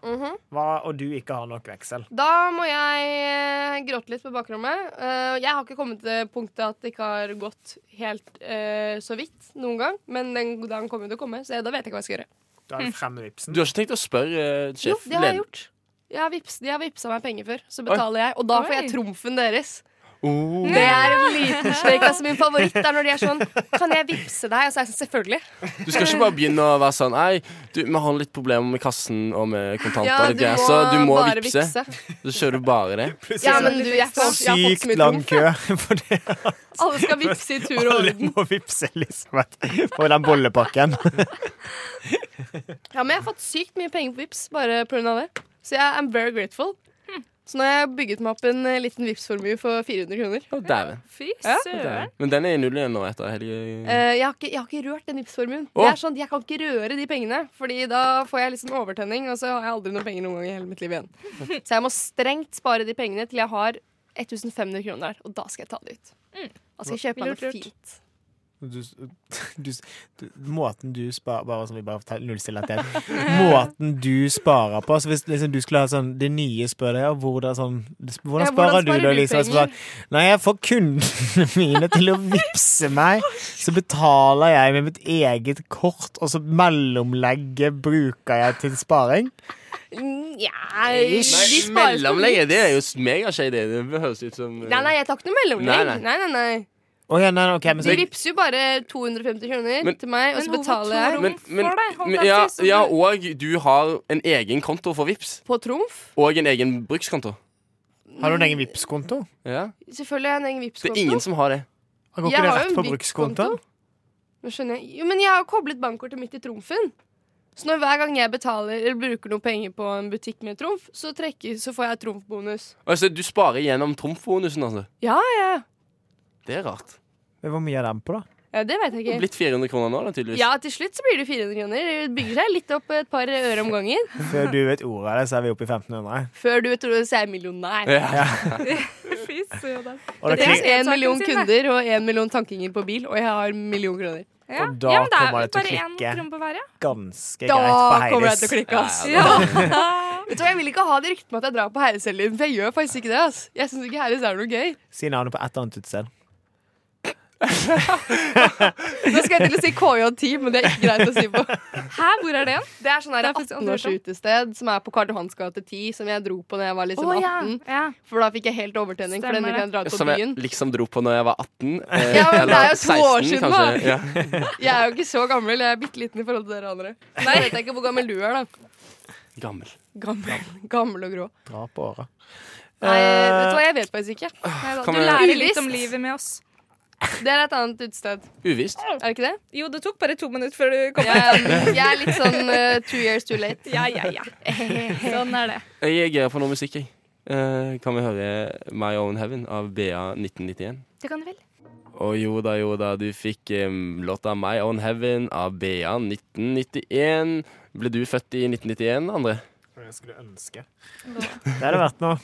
D: hva, og du ikke har nok veksel
H: Da må jeg eh, gråte litt på bakrommet. Eh, jeg har ikke kommet til det punktet at det ikke har gått helt eh, så vidt noen gang. Men den dagen kommer jo til å komme, så jeg, da vet jeg ikke hva jeg skal gjøre.
D: Da er det fremme vipsen.
B: Du har ikke tenkt å spørre uh,
H: Jo,
B: sjef?
H: det har jeg
B: Len-
H: gjort. Jeg har vips, de har vippsa meg penger før, så betaler jeg. Og da får jeg
F: Oi.
H: trumfen deres.
B: Oh.
H: Det er en liten slik. Altså, min favoritt er når de er sånn Kan jeg vippse deg? Og så er jeg sånn Selvfølgelig.
B: Du skal ikke bare begynne å være sånn Nei, du, vi har litt problemer med kassen og med kontanter. og det greier, så du må
H: bare
B: vippse. Så kjører du bare det.
H: Ja, men du, jeg får, jeg har fått så
D: Sykt
H: mye
D: lang
H: trumf.
D: kø. For det
H: Alle skal vippse i tur og
D: alle
H: orden.
D: må vippse, Elisabeth. For den bollepakken.
H: Ja, men jeg har fått sykt mye penger på vips bare på grunn av det. Så jeg am very grateful. Så nå har jeg bygget meg opp en eh, liten vipsformue for 400 kroner.
B: Å, dæven.
C: Fy
H: Ja.
B: Dæven.
C: søren.
B: Men den er i null igjen nå etter helga.
H: Eh, jeg, har ikke, jeg har ikke rørt den vipsformuen.
B: Å.
H: Det er sånn, Jeg kan ikke røre de pengene, Fordi da får jeg liksom overtenning, og så har jeg aldri noen penger noen gang i hele mitt liv igjen. Så jeg må strengt spare de pengene til jeg har 1500 kroner der, og da skal jeg ta det ut.
B: Mm.
H: Da skal jeg kjøpe meg
F: Lurt, lurt.
H: noe fint.
D: Du, du, du, måten du sparer Bare som vi bare forteller nullstille at det er- Måten du sparer på Så hvis liksom, du skulle ha sånn Det nye spør deg ja, hvordan, sånn, hvordan
H: Ja,
D: sparer
H: hvordan
D: du
H: sparer
D: da,
H: du
D: Lisa?
H: penger?
D: Nei, jeg får kundene mine til å vippse meg Så betaler jeg med mitt eget kort Og så mellomlegget bruker jeg til sparing
H: Nja
B: Nei,
H: de sparer på
B: mellomlegge, det er jo megashady. Det høres ut som eh,
H: Nei, nei, jeg tar ikke noe mellomlegg.
B: Nei,
H: Nei,
B: nei.
H: nei, nei,
D: Å ja, nei, ok, men
H: De
D: så,
H: vippser jo bare 250 kroner
B: Men-
H: til meg, og
F: Men
H: så
F: hvorfor
H: betaler jeg
F: tror
B: eh, men, men,
F: for deg, holdt
B: men
F: jeg
B: ja,
F: til, så
B: ja,
F: du-
B: og du har en egen konto for Vips
H: på trumf.
B: Og en egen brukskonto.
D: Har du en egen Vipps-konto?
B: Ja.
H: Selvfølgelig har jeg en egen
B: Det er
H: Vipps-konto.
B: ingen som har det.
D: Går
H: Jeg
D: ikke det
H: har jo
D: rett
H: en
D: på brukskontoen?
H: Nå skjønner jeg. Jo, men jeg har jo koblet bankkortet mitt til trumfen. Så når hver gang jeg betaler eller bruker noen penger på en butikk med trumf, så, trekker, så får jeg trumfbonus.
B: Altså, du sparer gjennom trumfbonusen, altså.
H: Ja, ja.
B: Det er rart.
D: Hvor mye er den på da?
H: ja, det vet jeg
B: Det
H: ikke.
B: har blitt 400 kroner nå, da, tydeligvis.
H: Ja, til slutt så blir det 400 kroner. Det bygger seg litt opp et par øre om gangen.
D: Før du vet ordet av det så er vi oppe i 1500
H: Før du tror at jeg er millionær.
B: Ja.
F: Fy søren.
D: Og det
H: Det
D: kling-
H: er én million
F: saken sin,
H: kunder og én million tankinger på bil, og jeg har en million kroner.
F: Ja.
D: Og da
F: ja, men det er
D: kommer
F: vel
D: det til å
F: bare én
D: klikke.
F: krone på hver, ja.
D: ganske
H: Da
D: greit på
H: kommer jeg
D: Heidis.
H: til å klikke, ass.
B: Ja,
H: Vet du hva, Jeg vil ikke ha det ryktet med at jeg drar på Herres hele tiden, for jeg gjør faktisk ikke det. ass Jeg syns ikke Herres er noe gøy.
D: Si navnet på et annet utested.
H: Nå skal jeg til å si KJ10, men det er ikke greit å si på.
F: Hæ, hvor er det igjen?
H: Det er sånn her
F: Det er faktisk
H: 18-års
F: aldri
H: utested som er på Karl Johans gate 10, som jeg dro på da jeg var liksom
F: Å,
H: 18.
F: ja. ja.
H: For da fikk jeg helt overtenning, for den
F: Stemmer
H: ville jeg dra ut på
B: Som jeg
H: byen.
B: liksom dro på når jeg var 18. eh,
H: Ja, men det er jo to år
B: eller
H: siden,
B: kanskje.
H: da.
B: Ja.
H: Jeg er jo ikke så gammel, jeg er bitte liten i forhold til dere andre. Nei, jeg vet ikke hvor gammel du er, da.
B: Gammel.
H: Gammel, gammel og grå.
D: Dra på året.
H: Nei,
D: Eh.
H: vet du hva, jeg vet faktisk ikke.
F: Nei, da,
B: Kan
F: du
B: vi-
F: lærer litt om
H: Uvisst.
F: livet med oss.
H: Det er et annet utested.
B: Uvisst.
H: Er det ikke det?
F: Jo, det tok bare to minutter før du kom.
H: Jeg, jeg er litt sånn eh, two years too late.
F: Ja, ja, ja. Sånn er det.
B: Jeg reagerer på noe musikk, jeg. Eh, kan vi høre My Own Heaven av BA 1991?
F: Det kan du vel.
B: Å jo da, jo da, du fikk em, låta My Own Heaven av BA 1991. Ble du født i 1991, Andre?
D: Jeg skulle ønske. Det hadde vært noe.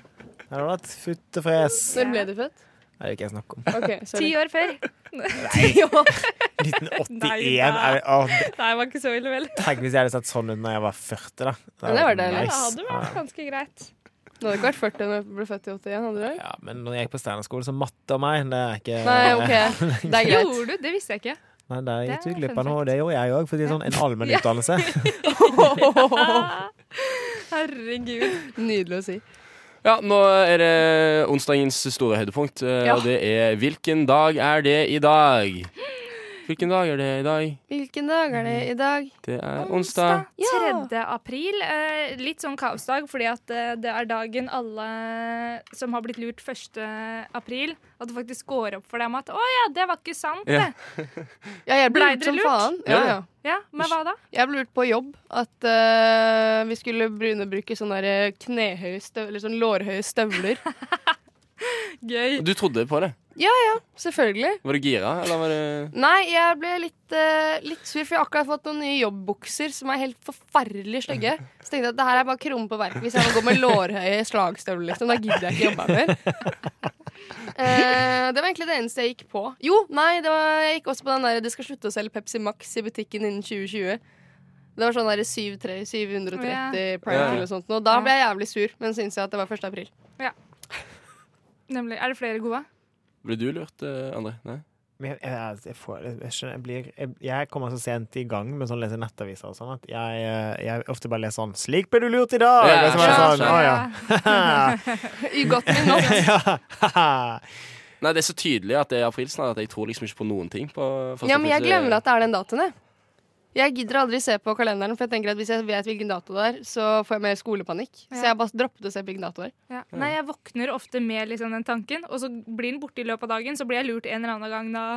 D: Det hadde vært futt og fres.
H: Når ble du født?
D: Det vil ikke jeg snakke om.
H: Ok,
F: Ti
H: sorry.
F: år før.
D: 1981 er det, å, det-
F: Nei, det var ikke så ille, vel.
D: Tenk hvis jeg hadde sett sånn ut når jeg var 40, da.
H: Ja, det var det, eller?
F: Det hadde vært
D: Ja.
F: ganske greit.
H: Du hadde ikke vært 40 når du ble født i 81, hadde du det?
D: Ja, men når jeg gikk på Steinerskolen, så matte og meg, det er ikke
H: Nei, ok. Det er greit.
F: Gjorde du? Det visste jeg ikke.
D: Nei, det gikk du
F: Det er
D: glipp av
F: fun
D: noe. Det gjorde jeg òg, for det er sånn en allmenn utdannelse.
F: Herregud.
H: Nydelig å si.
B: Ja, nå er det onsdagens store høydepunkt, eh,
F: Ja.
B: og det er Hvilken dag er det i dag? Hvilken dag er det i dag?
H: Hvilken dag er det i dag?
B: Det er onsdag.
F: 3. april. Eh, litt sånn kaosdag, fordi at eh, det er dagen alle som har blitt lurt 1. april, at det faktisk går opp for dem at 'Å ja, det var ikke sant',
B: Ja.
F: det.
H: Ja, jeg ble
F: Blei
H: lurt
F: dere
H: som
F: lurt?
H: faen. Ja,
B: Ja, ja.
H: ja.
F: Ja, men hva da?
H: Jeg ble lurt på jobb at eh, vi skulle begynne å bruke sånne der knehøye støv- eller sånn lårhøye støvler.
F: Gøy.
B: Du trodde på det?
H: Selvfølgelig.
B: Var du gira, eller var det
H: Nei, jeg ble litt, uh, litt sur, for jeg har akkurat fått noen nye jobbbukser som er helt forferdelig stygge. Så tenkte jeg at det her er bare kromme på verket hvis jeg må gå med lårhøye slagstøvler. Liksom. Da gidder jeg ikke jobbe her mer. Eh, det var egentlig det eneste jeg gikk på. Jo, nei, det var, jeg gikk også på den der de skal slutte å selge Pepsi Max i butikken innen 2020. Det var sånn der 73, 730 Prime
B: Ja.
H: eller noe sånt. Og da ble jeg jævlig sur, men syntes jeg at det var 1. april.
F: Nemlig. Er det flere gode?
B: Ble du lurt, eh, Andre? Nei?
D: Men jeg, jeg, jeg, får, jeg, skjønner, jeg, blir, jeg, jeg kommer så sent i gang med sånn lese nettaviser og sånn at jeg, eh, jeg ofte bare leser sånn 'Slik ble du lurt i dag!'
B: Ja,
D: og så bare
B: ja,
D: sånn, å, ja.
H: I godt min natt.
D: ja.
B: Nei, det er så tydelig at det er aprilsnarr at jeg tror liksom ikke på noen ting. På
H: Ja, men jeg glemmer at det er den datoen, jeg. Jeg gidder aldri se på kalenderen, for jeg tenker at hvis jeg vet hvilken dato det er, så får jeg mer skolepanikk. Så
F: Ja.
H: jeg bare droppet å se på hvilken dato det er.
F: Ja. Nei, jeg våkner ofte med liksom den tanken, og så blir den borte i løpet av dagen. Så blir jeg lurt en eller annen gang da.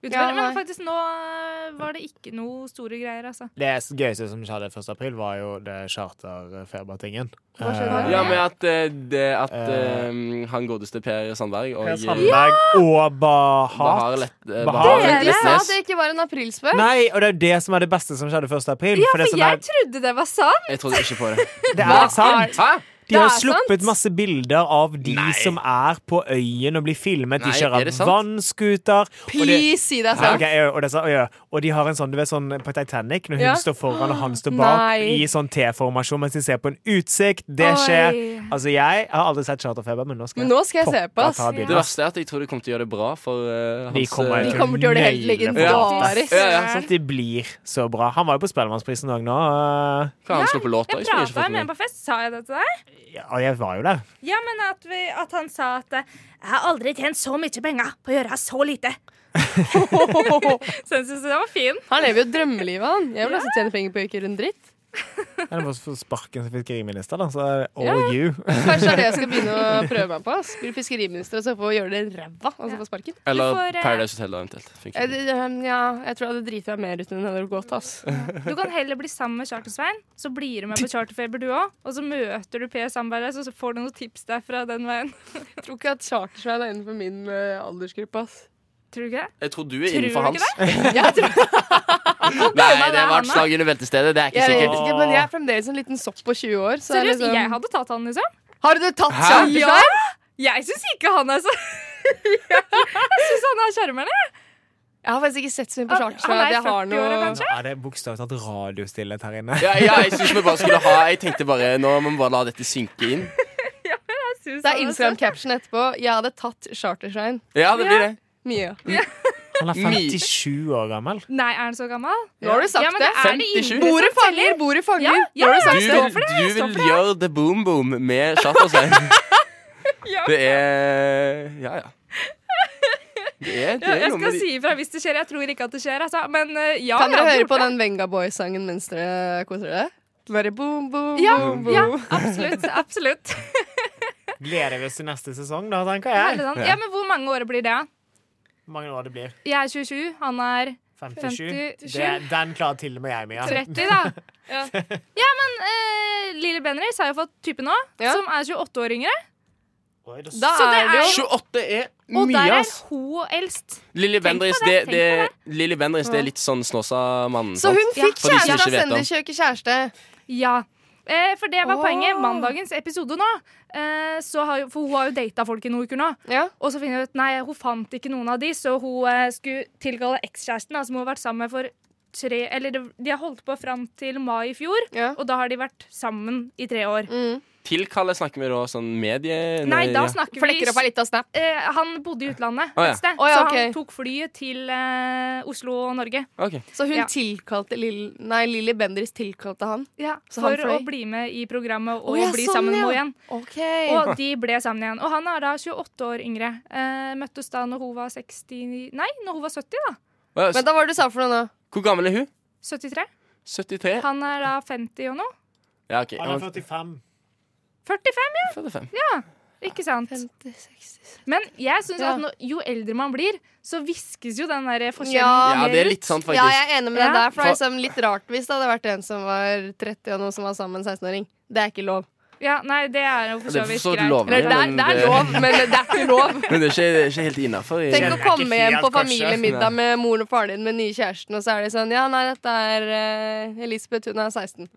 F: utover.
H: Ja, nei.
F: Men faktisk nå eh, var det ikke noe store greier, altså.
D: Det gøyeste som skjedde 1. april, var jo det charterfebertingen.
H: Hva skjedde
B: Ja, men at, eh, det, at
D: Eh.
B: eh, han godeste Per Sandberg og
D: Per Sandberg og
B: Bahar
D: Bahat.
B: Lett, eh,
D: Bahar
B: Bahar
D: Dere
H: Dere sa at
B: Letnes.
H: det ikke var en aprilspøk.
D: Nei, og det er jo det som er det beste som skjedde 1. april.
F: Ja,
D: for det,
F: for
D: som
F: jeg
D: er,
F: trodde det var sant!
B: Jeg trodde ikke på det.
D: det er sant!
B: Hæ?
D: De har
H: Det er
D: sluppet
H: sant.
D: masse bilder av de som er på øyen og blir filmet. De
B: Nei, er
D: kjører
B: det sant?
D: vannskuter. Og, det,
H: Please, si det er
D: Nei,
H: sant.
D: ok, ja, og, det, er sant, ja. og de har en sånn, du vet, sånn på Titanic, når hun
H: Ja.
D: står foran og han står bak
H: Nei.
D: i sånn T-formasjon mens de ser på en utsikt. Det
F: Oi.
D: skjer. Altså, jeg har aldri sett charterfeber, men nå skal
H: Men
D: jeg
H: nå skal jeg se på,
D: pokker
H: ass.
D: ta bilder.
B: Det verste er at jeg tror de kommer til å gjøre det bra for eh,
D: De
B: hans
D: kommer
B: eh,
H: De kommer til å gjøre det helt
D: Naile
H: legendarisk.
B: Ja, ja,
D: At det blir så bra. Han var jo på Spellemannsprisen òg nå. øh,
B: Hva har han sluppet låt
F: Jeg
B: av? Jeg har ikke
F: prata
B: fått
F: med ham
B: med.
F: på fest. Sa jeg det til deg?
D: Ja, og jeg var jo der.
F: Ja, men at, vi, at han sa at eh, 'Jeg har aldri tjent så mye penger på å gjøre så lite'. Så jeg synes det var fin.
H: Han lever jo drømmelivet, han. Jeg vil også tjene penger på å ikke gjøre en dritt.
D: Jeg var for sparken som fiskeriminister, da, så eh, all you.
H: Kanskje det er det jeg skal begynne å prøve meg på. ass. Bli fiskeriminister og så få gjøre det ræva, og så få sparken.
B: Eller
F: får, eh,
B: Paradise Hotel, eventuelt.
H: Jeg,
B: Funker.
H: det- ehm, ja, jeg tror jeg hadde driti meg mer ut enn jeg hadde gått, ass.
F: Du kan heller bli sammen med Charter-Svein, så blir du med på Charterfeber du òg. Og så møter du Per Sandberg, og så får du noen tips derfra den veien.
H: Jeg tror ikke at Chartersveien er innenfor min eh, aldersgruppe, ass.
F: Tror du ikke det?
B: Jeg tror du er
F: Tror
B: innenfor
F: du
B: hans.
H: Jeg tror
B: Nei, det
F: er
B: var
F: han,
B: et
F: da?
B: slag under beltestedet. Det er ikke
H: Jeg vet
B: sikkert.
H: ikke, men jeg er fremdeles en liten sopp på 20 år. Så det er
F: Seriøst,
H: liksom-
F: jeg hadde tatt han, liksom.
H: Har du tatt
B: Hæ?
H: Chartersveien?
F: Jeg syns ikke han er så Jeg syns han er sjarmerende.
H: Jeg har faktisk ikke sett så mye på
F: Han-
H: Chartersveien.
F: han er
H: at jeg har
F: 40 år,
H: noe-
F: kanskje?
D: Nå er det bokstavelig talt radiostillhet her inne.
B: Ja, ja, jeg synes vi bare skulle ha Jeg tenkte bare Nå må vi bare la dette synke inn.
F: Jeg synes
H: Det er
F: han søt.
H: Instagram-caption etterpå. Jeg hadde tatt Chartersveien.
B: Ja, det blir det.
H: Mia.
D: Han er
B: Mi-
D: 57 år gammel.
F: Nei, er han så gammel?
H: Nå har du sagt
F: Ja, men det er det
B: 57?
H: det. Bordet faller, bordet faller.
F: Ja,
H: Nå har
F: ja,
H: du sagt
B: Du
F: ja,
H: det.
B: vil, du vil gjøre the boom boom med Chatterstein.
F: Ja.
B: Det er Ja, ja. Det er, det
F: Ja,
B: er
F: jeg
B: noe
F: skal
B: med de
F: si ifra hvis det skjer. Jeg tror ikke at det skjer, altså. Men eh, ja.
H: Kan
F: jeg
H: dere
F: hadde
H: høre
F: gjort
H: på
F: det.
H: den Venga Boys-sangen mens dere koser dere? Bare boom, boom,
F: Ja,
H: boom,
F: ja,
H: boom.
F: absolutt. absolutt.
D: Gleder vi oss til neste sesong, da, tenker
F: Veldig
D: jeg.
F: sant. sånn. Ja, Men hvor mange år blir det?
D: Hvor mange år det blir?
F: Jeg er 27, han er
D: 57?
F: 57.
D: Det, den klarer til og med jeg, Mia.
F: 30, da. Ja, men eh, Lille Bendriss har jo fått type nå,
H: Ja.
F: som er 28 år yngre.
D: Oi, da-
H: Da
F: Så det
H: er det jo
B: 28 er
F: Og
B: mye,
F: der er
B: ass.
F: hun eldst.
B: Lilly
F: Tenk på
B: Bendriss, det,
F: det, tenk
B: det, Lilly Bendriss, det er litt sånn Snåsa-mannen.
H: Så hun
F: Ja.
H: fikk
B: For de som ikke
H: kjæreste av
B: vet om.
H: Sendekjøket kjæreste.
F: Ja. Eh, for det var
H: Åh.
F: poenget. Mandagens episode nå. Eh, så har, jo- for hun har jo data folk i noen uker nå.
H: Ja.
F: Og så finner hun ut nei, hun fant ikke noen av de, så hun eh, skulle tilkalle ekskjæresten, da, som hun har vært sammen med for tre Eller det- de har holdt på fram til mai i fjor,
H: Ja.
F: og da har de vært sammen i tre år.
H: Mm.
B: Tilkalle snakker vi da sånn medie...
F: Nei, da
B: ja.
F: snakker vi
H: Flekker opp av litt av snap.
F: eh, Han bodde i utlandet
B: Å, ja.
F: et sted,
H: Å, ja,
F: så
H: ok.
F: han tok flyet til eh, Oslo og Norge.
B: Ok.
H: Så hun
F: Ja.
H: tilkalte Lill... Nei, Lilly Bendriss tilkalte han.
F: Ja,
H: Så
F: for
H: han fløy?
F: å bli med i programmet og
H: Å, ja,
F: bli
H: sånn,
F: sammen
H: ja.
F: med henne igjen.
H: OK.
F: Og de ble sammen igjen. Og han er da 28 år yngre. Eh, møttes da når hun var 69 Nei, når hun var 70, da.
B: Hva-
H: Men da var det du sa for noe nå?
B: Hvor gammel er hun?
F: 73.
B: 73?
F: Han er da 50 og noe.
B: Ja, ok.
D: Han er 45.
F: 45,
B: 45.
F: ikke sant?
H: 50, 60
F: Men jeg synes
H: Ja.
F: at nå- jo eldre man blir, så viskes jo den der forskjellen
H: Ja.
B: Ja,
F: mer
B: det er
F: ut.
B: litt sånn, sant,
H: Ja, jeg
B: faktisk.
H: er enig med
F: Ja.
H: deg der. For det er
B: For-
H: liksom litt rart hvis det hadde vært en som var 30 og noen som var sammen med en 16-åring. Det er ikke lov.
F: Ja, nei, det er jo for
B: Det
F: så
B: er
F: vidt
B: for så
F: greit.
B: lovlig,
F: Eller,
B: men
F: det,
B: det-
F: er lov, men det er ikke lov.
B: Men det er ikke, det er ikke helt innafor.
H: Tenk å
D: er
H: komme
D: ikke
H: hjem
D: helt
H: på
D: kanskje.
H: familiemiddag med moren og faren din med den nye kjæresten, og så er det sånn Ja, nei, dette er eh, Elisabeth, hun er 16.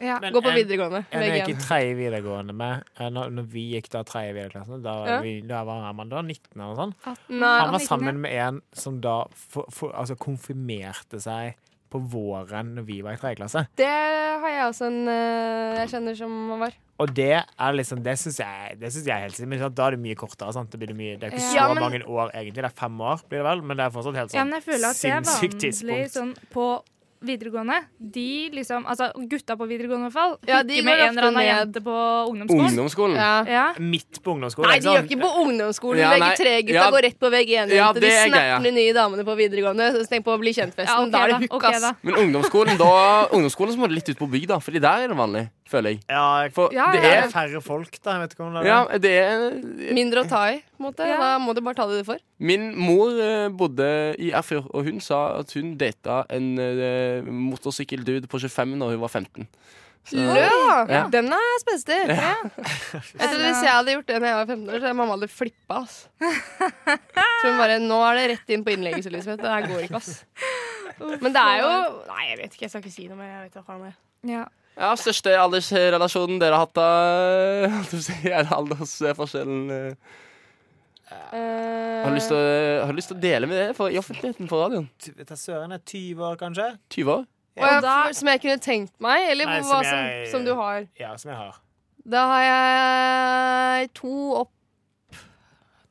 F: Ja.
D: Men
H: Gå på
D: en-
H: videregående.
D: En jeg gikk
H: VG1.
D: i tredje videregående med eh, Når, når vi gikk da tredje videreklassen, da, var
H: Ja.
D: vi, da var Amanda 19 eller noe sånt.
H: Nei.
D: Han var
F: 19,
D: sammen med en som da for, for, altså konfirmerte seg på våren når vi var i tredje klasse.
H: Det har jeg også en eh, jeg kjenner som var.
D: Og det er liksom Det syns jeg, det synes jeg er helt sinnssykt. Men sant, da er det mye kortere. Sant? Det, blir det, mye, det er ikke så
H: Ja, men-
D: mange år, egentlig. Det er fem år, blir det vel? Men det er fortsatt helt
F: Ja,
D: sånn
F: men jeg føler at det er
D: sinnssykt
F: vanlig
D: tidspunkt.
F: sånn på videregående. De liksom, altså gutta på videregående i hvert fall,
H: Ja, de
F: hooker
H: går
F: med en
H: ofte
F: eller annen
H: ned.
F: jente på ungdomsskolen.
B: Ungdomsskolen.
H: Ja.
F: Ja.
D: Midt på ungdomsskolen.
H: Nei, de gjør
D: sant?
H: ikke på ungdomsskolen.
B: Ja, nei.
H: VG3-gutta
B: Ja.
H: går rett på VG1-jente.
B: Ja, det
H: de
B: er greia.
H: snapper de nye damene på videregående. Så tenk på å bli kjent-festen.
F: Ja, ok
H: da er det
F: da,
H: hook,
F: ok
H: ass.
F: da.
B: Men ungdomsskolen, da, ungdomsskolen så må du litt ut på bygda, Fordi der er det vanlig, føler jeg.
D: Ja,
B: For
F: Ja,
B: det
D: det er
B: er
D: færre folk, da. Jeg vet ikke om det er
B: Ja, det er
H: Mindre å ta i, på en måte.
F: Ja.
H: Da må du bare ta det du får.
B: Min mor eh, bodde i Erfjord, og hun sa at hun data en eh, motorsykkeldude på 25 når hun var 15. Så,
H: Ja,
B: Ja.
H: Den er spenstig. Jeg tror Hvis jeg hadde gjort det da jeg var 15 år, så hadde mamma hadde flippa. ass. Så hun bare Nå er det rett inn på innleggelse, Elisabeth. Det her går ikke, ass. Men det er jo Nei, jeg vet ikke. Jeg skal ikke si noe mer. Jeg vet hva faen det er.
F: Ja.
B: ja, største aldersrelasjonen dere har hatt da eh, holdt jeg på å si, Er det aldersforskjellen eh?
H: Eh,
F: Eh,
B: Har du lyst til å- har du lyst til å dele med det for, i offentligheten på radioen?
D: t- ta Søren er 20 år, kanskje?
B: 20 år?
H: og jeg- som jeg kunne tenkt meg, eller
D: Nei,
H: hva
D: som
H: som,
D: jeg-
H: som du har.
D: Ja, som jeg har.
H: Da har jeg to opp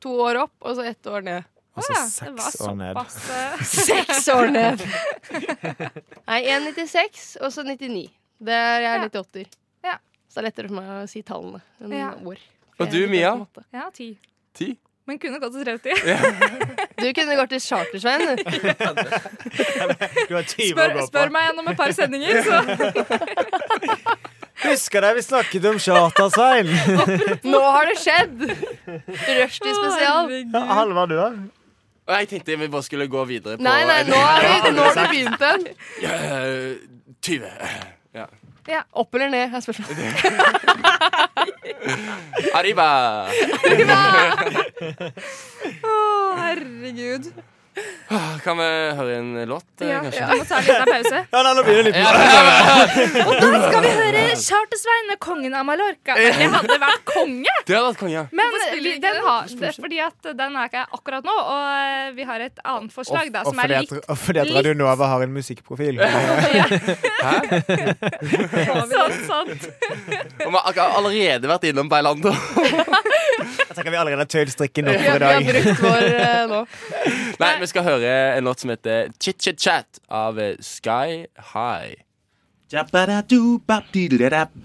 H: To år opp, og så ett år ned.
D: Og så Altså, seks år ned.
F: eh,
H: Seks år ned! Nei, 1,96 og så 99. Der er jeg
F: Ja.
H: litt åtter.
F: Ja.
H: Så det er lettere for meg å si tallene enn
F: Ja.
B: Og
H: år. Jeg
B: du,
H: er litt
B: Mia?
H: dårlig på matte.
F: Ja, ti.
B: 10?
F: Men kunne gått til 30.
H: Du kunne gått til Chartersveien. du.
D: Du har 20 år
F: Spør,
D: å gå
F: spør
D: på.
F: meg gjennom et par sendinger, så
D: Husker deg vi snakket om Charter-Svein?
H: Nå har det skjedd! Rushdie spesial.
F: Herregud.
D: Halvard, du, da?
B: Og Jeg tenkte vi bare skulle gå videre på
H: Nei, nei,
B: en-
H: nå har du, nå har du begynt den.
B: Ja, eh, 20. Ja.
H: Opp eller ned, er spørsmålet.
B: Arriba!
F: Å, herregud.
B: Ah, Kan vi høre en låt, eh,
F: Ja,
B: kanskje?
F: du må ta en liten pause.
D: Ja, nei, nå blir det litt
F: Da skal vi høre Charter-Svein med kongen av Mallorca. Det hadde vært konge!
B: Det hadde vært konge.
F: Men
H: Hvorfor
F: vi,
H: spiller vi ikke
F: den
H: den?
F: har, det, er fordi at den er ikke akkurat nå, og eh, vi har et annet forslag da, som er likt.
D: og fordi at Radio Nova har en musikkprofil.
F: Sant, sant. Sånn,
B: Og vi har akkurat allerede vært innom Beilando.
D: Jeg tenker vi allerede har tøyd strikken opp
H: Vi har,
D: for i
H: vi har
D: dag.
H: brukt vår eh, nå.
B: Nei, vi skal høre en låt som heter Chit Chit Chat av eh, Sky High.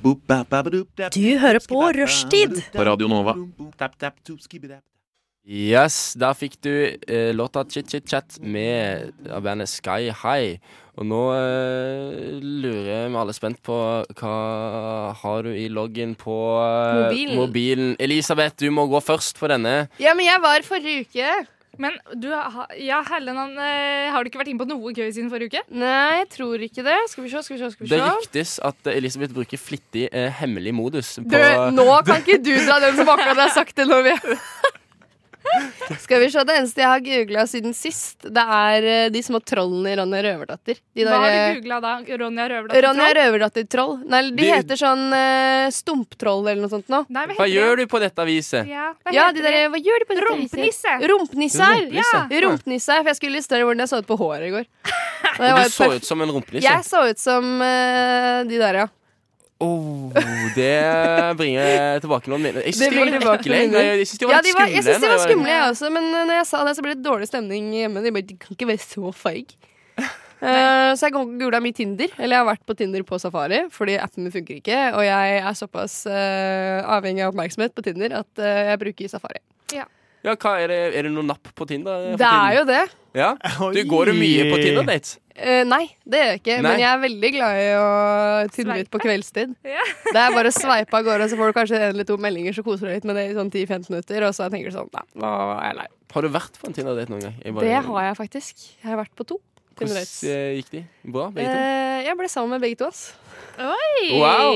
A: Du
I: hører på Rushtid.
J: På Radio Nova.
B: Yes, der fikk du eh, låta Chit Chit Chat med av bandet Sky High. Og nå eh, lurer vi alle spent på hva har du i loggen på eh,
H: Mobilen.
B: mobilen. Elisabeth, du må gå først på denne.
H: Ja, men jeg var forrige uke.
F: Men du, har- ja, Helleland, eh, har du ikke vært inne på noe gøy siden forrige uke?
H: Nei, jeg tror ikke det. Skal vi se, skal vi se. skal vi
B: Det
H: se.
B: ryktes at eh, Elisabeth bruker flittig eh, hemmelig modus på
H: Du, nå kan ikke du dra den som akkurat har sagt det. Når vi Skal vi se, Det eneste jeg har googla siden sist, det er eh, de små trollene i Ronja Røverdatter. De
F: Hva har
H: der,
F: du googla da? Ronja
H: eh,
F: Røverdatter?
H: Ronja Røverdatter-troll. Nei, de
B: De-
H: heter sånn eh, stumptroll eller noe sånt nå.
F: Nei, hva
B: Hva
F: heter
B: gjør du på dette
F: det?
B: viset?
F: Ja, hva
H: Ja,
F: heter
H: de der, eh, hva gjør de på dette
F: Rumpenisse.
H: viset? Rumpenisser!
B: Rumpenisse.
H: Ja. Rumpenisse, For jeg skulle illustrere hvordan jeg så ut på håret i går. Og jeg var
B: Du
H: et
B: så
H: perf-
B: ut som en rumpenisse.
H: Jeg så ut som eh, de der, ja.
B: Oh, det bringer tilbake noen minner. Jeg
H: Det
B: syns de var
H: bringer
B: litt
H: tilbake
B: ekle.
H: minner.
B: Jeg syns de var
H: ja
B: litt
H: de var, jeg
B: skumle.
H: syns de
B: når
H: var
B: jeg
H: skumle, jeg også. Men eh, når jeg sa det, så ble det dårlig stemning hjemme. De bare, de kan ikke være så feig. Eh, så jeg googla mye Tinder. Eller jeg har vært på Tinder på safari, fordi appen min funker ikke. Og jeg er såpass eh, avhengig av oppmerksomhet på Tinder at eh, jeg bruker safari.
B: Ja, hva er det, er det noe napp Eh, på Tinder?
H: Det er jo det.
B: ja. Du går jo mye på Tinder-dates.
H: Eh, nei, det gjør jeg ikke.
B: Nei.
H: Men jeg er veldig glad i å tindre ut på kveldstid.
F: Ja.
H: Det er bare å sveipe av gårde, så får du kanskje en eller to meldinger, så koser du deg litt med det i sånn 10-15 minutter, og så tenker du sånn Nei, nå er jeg lei.
B: Har du vært på en Tinder-date noen gang? Jeg bare-
H: Det har jeg faktisk. Jeg har vært på to.
B: Hvordan
H: Tinder-dates.
B: eh, gikk de? Bra, begge to?
H: Eh, jeg ble sammen med begge to, ass.
F: Oi!
B: Wow.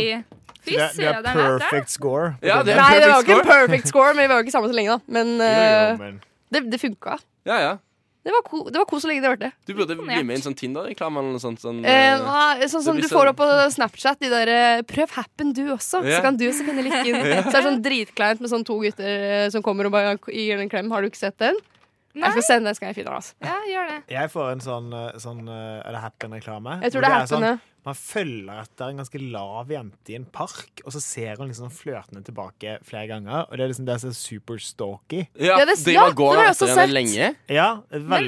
F: Fy
D: Du er- Du er
F: søderen, vet du.
D: perfect score. på
B: Ja,
D: Tinder.
B: det er
H: Nei, det var
B: perfect
H: ikke en
B: score.
H: perfect score, men vi var jo ikke sammen så lenge, da. Men
D: Jo, jo,
H: eh,
D: men-
H: det, det funka.
B: Ja, ja.
H: Det var, ko det var kos så lenge det varte.
B: Du burde bli med i en sånn Tinder-reklame eller noe sånt. Sånn,
H: Eh,
B: eh,
H: nei, sånn som
B: det
H: du
B: blir
H: får
B: sånn-
H: opp på Snapchat, de der eh, 'prøv happen du også',
B: Ja.
H: så kan du også finne litt inn. Så er det sånn dritkleint med sånn to gutter eh, som kommer og bare gir den en klem. Har du ikke sett den?
F: Nei.
H: Jeg skal sende den, skal jeg finne den. Altså.
F: Ja, gjør det.
D: Jeg får en sånn, eh, sånn eh, Er det Happen-reklame?
H: Jeg
D: Hvor
H: tror det er happen,
D: sånn,
H: ja.
D: Man følger etter en ganske lav jente i en park, og så ser hun liksom flørtende tilbake flere ganger. Og det er liksom det som er superstalky.
B: ja,
H: ja,
B: de
H: det- ja,
B: var
H: det har
B: går
H: jeg
B: etter
H: også
B: henne
H: sett.
B: lenge.
D: Ja, veldig,
F: hvor er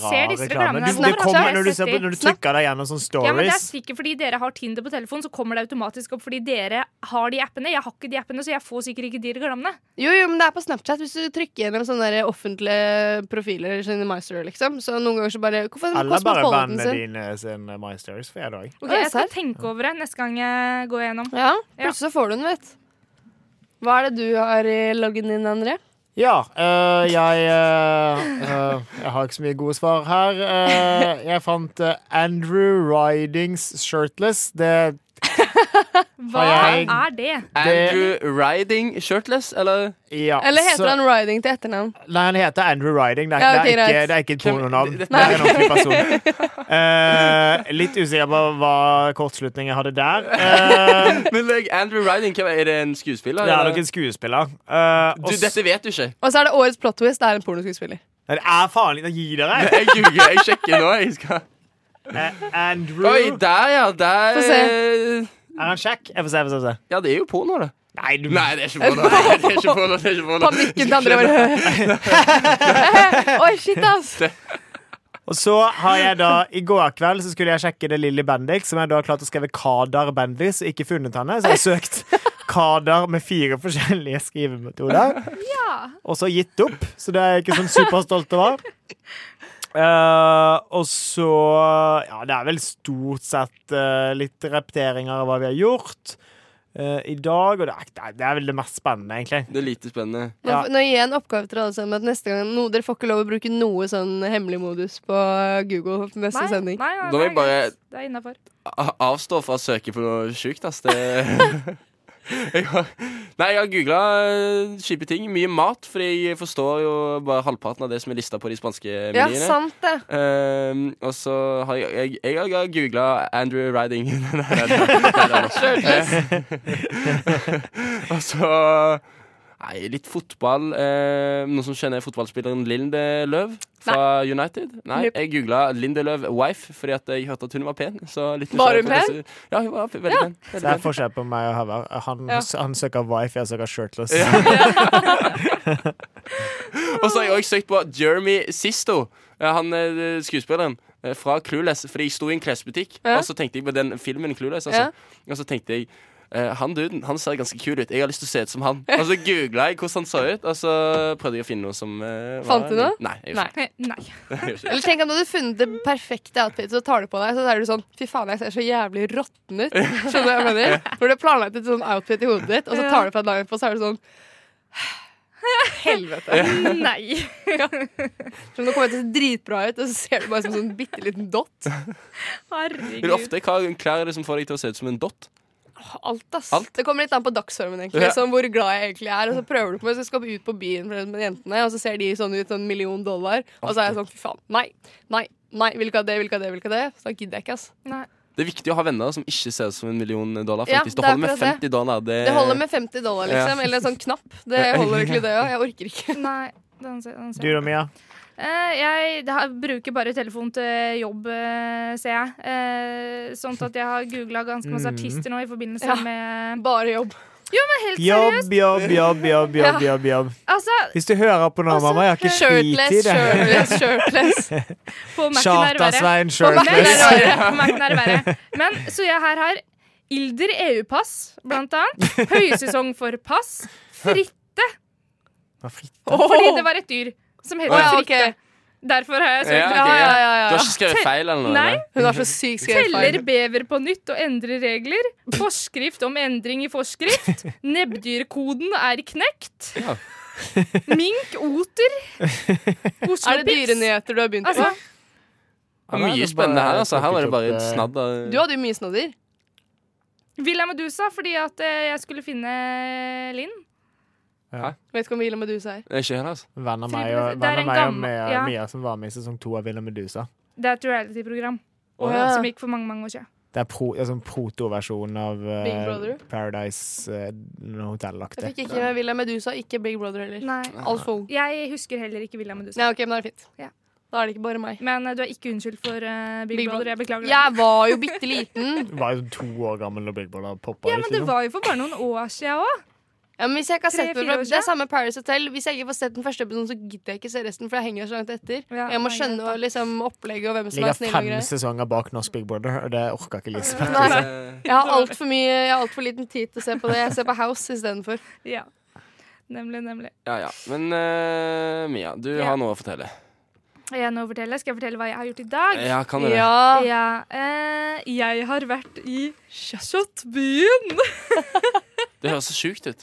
D: veldig
F: du ser
D: rar
F: disse
D: reklame.
F: programmene?
D: Du,
F: Hvor
D: det
F: har
D: kommer
F: jeg
D: når du,
F: sett
D: ser på,
F: de?
D: når du trykker deg gjennom sånne
F: Ja, men det er
D: stories.
F: sikkert fordi dere har Tinder på telefonen, så kommer det automatisk opp fordi dere har de appene. Jeg har ikke de appene, så jeg får sikkert ikke de reklamene.
H: Jo, jo, men det er på Snapchat. Hvis du trykker gjennom sånne der offentlige profiler sine MyStory, liksom. Så noen ganger så bare Hvorfor er den
D: Eller bare
H: Cosmopolitan
D: vennene
H: sin?
D: dine sin eh, My Stories, for jeg da òg.
F: Ok,
H: Å,
F: jeg skal
H: serr?
F: tenke over det neste gang jeg går gjennom.
H: Ja,
F: Ja.
H: plutselig så får du den, vet Hva er det du har i loggen din, André?
D: Ja, øh, jeg øh, øh, Jeg har ikke så mye gode svar her. Øh, jeg fant øh, Andrew Ridings Shirtless. Det,
F: Hva
D: Har jeg-
F: er det?
B: Andrew Riding shirtless, eller?
D: ja,
H: Eller heter
D: så-
H: han Riding til etternavn?
D: Nei, han heter Andrew Riding. Det er,
H: Ja, ok,
D: det er, ikke,
H: greit.
D: det er ikke et
B: Hvem-
D: pornonavn.
B: det-
D: Det er en ordentlig person. Eh, litt usikker på hva kortslutning jeg hadde der. Eh,
B: Men like, Andrew Riding, hvem er er det en skuespiller?
D: det er
B: eller?
D: nok en skuespiller. Eh, og
B: du,
D: s-
B: dette vet du ikke.
H: Og så er det årets plot twist. Det er en pornoskuespiller.
D: Nei, Det er faen ikke å gi dere!
B: Jeg ljuger. Jeg sjekker nå. Jeg skal.
D: Eh, Andrew
B: Oi, der, ja. Der eh,
H: Få
D: Er han kjekk? Jeg får se. Jeg får se, jeg får se.
B: Ja, det er jo porno, det.
D: Nei, du
B: Nei, det er ikke porno. Nei, det er ikke porno, det er ikke porno.
H: Panikken til andre bare Oi, shit, ass.
D: Og så har jeg da, I går kveld så skulle jeg sjekke det Lilly Bendik, som jeg da har klart å skrive Kadar Bendis, og ikke funnet henne. Så jeg har søkt Kadar med fire forskjellige skrivemetoder. Og så gitt opp, så det er jeg ikke sånn superstolt over. Eh, og så Ja, det er vel stort sett eh, litt repeteringer av hva vi har gjort eh, i dag. Og det er, det er vel det mest spennende, egentlig.
B: Det er lite spennende.
H: Nå, nå gir jeg en oppgave til alle sammen. At neste gang, no, dere får ikke lov å bruke noe sånn hemmelig modus på Google
F: Nei,
H: neste
F: nei,
H: sending.
F: nei,
B: Da må
F: det
B: jeg
F: er
B: bare-
F: greit. Det er innafor.
B: A- Avstå fra å søke på noe sjukt, ass. Det jeg har, nei, jeg har googla kjipe ting. Mye mat, fordi jeg forstår jo bare halvparten av det som er lista på de spanske
H: Ja,
B: menyene.
H: sant det.
B: Ehm, og så har jeg Jeg, jeg har googla Andrew Riding. Nei, nei, nei, nei, nei, nei. Eh, Og så Nei, litt fotball. Eh, noen som kjenner fotballspilleren Lindeløv fra United? Nei,
H: Nope.
B: jeg googla Lindeløv wife fordi at jeg hørte at hun var pen. Så litt
H: Var hun
B: nysgjerrig på disse- Ja, hun var veldig pen.
D: Så
B: Veldig
D: det er
B: pen.
D: forskjell på meg og Havar. Han,
H: Ja.
D: han søker wife, jeg søker shirtless.
B: Og så har jeg også søkt på Jeremy Sisto, eh, han eh, skuespilleren. eh, Fra Clueless, fordi jeg sto i en klesbutikk,
H: Ja.
B: og så tenkte jeg på den filmen Clueless. Altså. Og så tenkte jeg eh, han duden han ser ganske kul ut. Jeg har lyst til å se ut som han. Og så googla jeg hvordan han så ut, og så prøvde jeg å finne noe som eh, var
H: Fant du noe?
B: Nei. Jeg
H: Nei.
B: gjorde
F: Nei.
B: ikke det. Jeg gjorde ikke det.
H: Eller tenk om du hadde funnet det perfekte outfitet, så tar du på deg, så er du sånn Fy faen, jeg ser så jævlig råtten ut. Skjønner du hva jeg mener? Når du har planlagt et sånn outfit i hodet ditt, og så tar du på deg dagen på, så er du sånn Helvete.
F: Nei.
H: Som om du kommer til å se dritbra ut, og så ser du bare som en sånn bitte liten dott.
B: Men
F: Herregud.
B: ofte, hva klær er det som får deg til å se ut som en dott?
H: Alt, ass.
B: Alt.
H: Det kommer litt an på dagsformen, egentlig.
B: Ja.
H: Som hvor glad jeg egentlig er. Og så prøver du på meg, så skal jeg ut på byen med jentene, og så ser de sånn ut, sånn million dollar. Og så er jeg sånn, fy faen, nei, nei, nei, vil ikke ha det, vil ikke ha det, vil ikke ha det. Så da gidder jeg ikke, ass.
B: Det er viktig å ha venner som ikke ser ut som en million dollar.
H: Ja,
B: faktisk
H: det
B: Det
H: er
B: holder med
H: akkurat
B: 50 dollar. Det,
H: Det holder med 50 dollar, liksom.
B: Ja.
H: Eller en sånn knapp. Det holder egentlig, det òg. Jeg orker ikke.
F: Nei. Den ser, den
D: Du
F: ser.
D: da, Mia?
F: Eh, jeg det har, bruker bare telefon til jobb, eh, ser jeg. Eh, sånn at jeg har googla ganske
D: Mm.
F: masse artister nå i forbindelse
H: Ja.
F: med
H: Bare jobb.
F: Helt seriøst!
D: Jobb, jobb, jobb, jobb, jobb, jobb, jobb.
F: Altså,
D: Hvis du hører på nå,
F: Altså,
D: mamma, jeg har ikke
H: Shirtless,
D: fritid. jeg.
H: shirtless, shirtless.
F: på Mac-en er det verre.
D: Sjata-Svein
F: På Mac-en er det
D: shirtless.
F: verre. På Mac-en er det verre. Men så jeg her har Ilder EU-pass, blant annet. Høysesong for pass. Fritte,
D: Hva fritt?
F: fordi det var et dyr som het
H: Å ja, ok.
F: fritte. Derfor har jeg søkt.
B: Ja,
H: Ja,
B: ok,
H: ja, ja,
B: Du
H: ja.
B: har ikke skrevet feil eller noe?
F: Nei.
B: eller?
H: Hun har så sykt skrevet
F: Teller
H: feil.
F: bever på nytt og endrer regler. Forskrift om endring i forskrift. Nebbdyrkoden er knekt.
B: Ja.
F: Mink, oter.
H: Er det
F: Oslopips.
H: dyrenyheter du har begynt på?
F: Altså,
B: Det er
D: Ja, det
B: mye
D: er
B: spennende
D: bare-
B: her. altså Her var det bare et
D: plukket opp, eh,
B: snadder.
H: Du hadde jo mye snadder.
F: Villa Medusa, fordi at eh, jeg skulle finne Linn.
H: Vet ikke om Villa Medusa er.
B: Ikke heller, altså.
D: Venn av
F: Fordi
D: eh, meg og,
F: det er
D: venn av meg og
F: en gammel-
D: Mia,
F: ja.
D: Mia som var med i sesong to av Villa Medusa.
F: Det er et reality-program
H: Å, ja.
F: som gikk for mange mange år siden.
D: Det er pro, altså, en proto-versjon av eh,
H: Big Brother?
D: Paradise eh,
H: Jeg
D: Hotel-aktig.
H: fikk ikke med Villa Medusa, ikke Big Brother heller.
F: Nei.
H: Alt for ung.
F: Jeg husker heller ikke Villa Medusa.
H: Nei, ok, men da er det fint.
F: Ja.
H: Da er det ikke bare meg.
F: Men eh, du er ikke unnskyldt for eh, Big,
H: Big
F: Brother.
H: Brother.
F: Jeg beklager det.
H: Jeg var jo bitte liten.
D: Var jo to år gammel da Big Brother poppa
F: Ja,
D: ut.
F: men det
D: liksom.
F: var jo for bare noen år siden òg.
H: Ja, men hvis jeg ikke har sett
F: Tre,
H: den,
F: fire år
H: det er samme Paris Hotel. Hvis jeg ikke får sett den første episoden, så gidder jeg ikke se resten, for jeg henger så langt etter.
F: Ja,
H: jeg må
F: nei,
H: skjønne
F: greit
H: liksom, opplegget og hvem som er
D: Ligger
H: snill og
D: fem
H: grei.
D: sesonger bak norsk Big Brother, og det orka ikke Lisbeth.
H: Nei.
B: Eh,
H: Jeg har altfor mye Jeg har alt for liten tid til å se på det. Jeg ser på House istedenfor.
F: Ja. Nemlig, nemlig.
B: Ja, ja. Men eh, Mia, du
F: Ja.
B: har noe å fortelle.
F: Er Jeg nå å fortelle. Skal jeg fortelle hva jeg har gjort i dag?
B: Ja, kan du det?
H: Ja.
F: Ja, eh, jeg har vært i Kjottbyen.
B: Det høres så sjukt ut.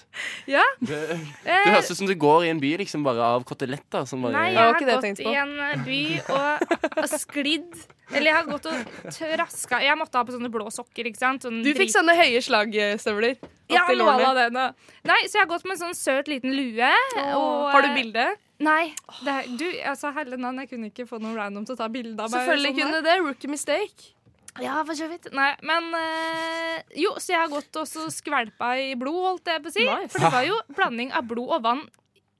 F: Ja.
B: Det, det
F: Eh,
B: høres ut som du går i en by liksom bare av koteletter. Som bare,
F: nei,
H: Det
F: jeg
H: var
F: har
H: ikke det jeg
F: gått
H: tenkte
F: i
H: på.
F: en eh, by og, og sklidd. Eller jeg har gått og traska Jeg måtte ha på sånne blå sokker, ikke sant? Sånn
H: Du fikk
F: drit-
H: sånne høye slagstøvler. opp
F: ja,
H: til
F: noe
H: lårene.
F: av det nå. Nei, så jeg har gått med en sånn søt liten lue. Og, eh,
H: Har du bilde?
F: Nei. Det, er- du, altså, hele navn, jeg kunne ikke få noen random til å ta bilde av meg.
H: Selvfølgelig
F: sånn
H: kunne det. Rookie mistake.
F: der. Ja, for så vidt. Nei, men eh, Jo, så jeg har gått og så skvelpa i blod, holdt jeg på å si. For det var jo blanding av blod og vann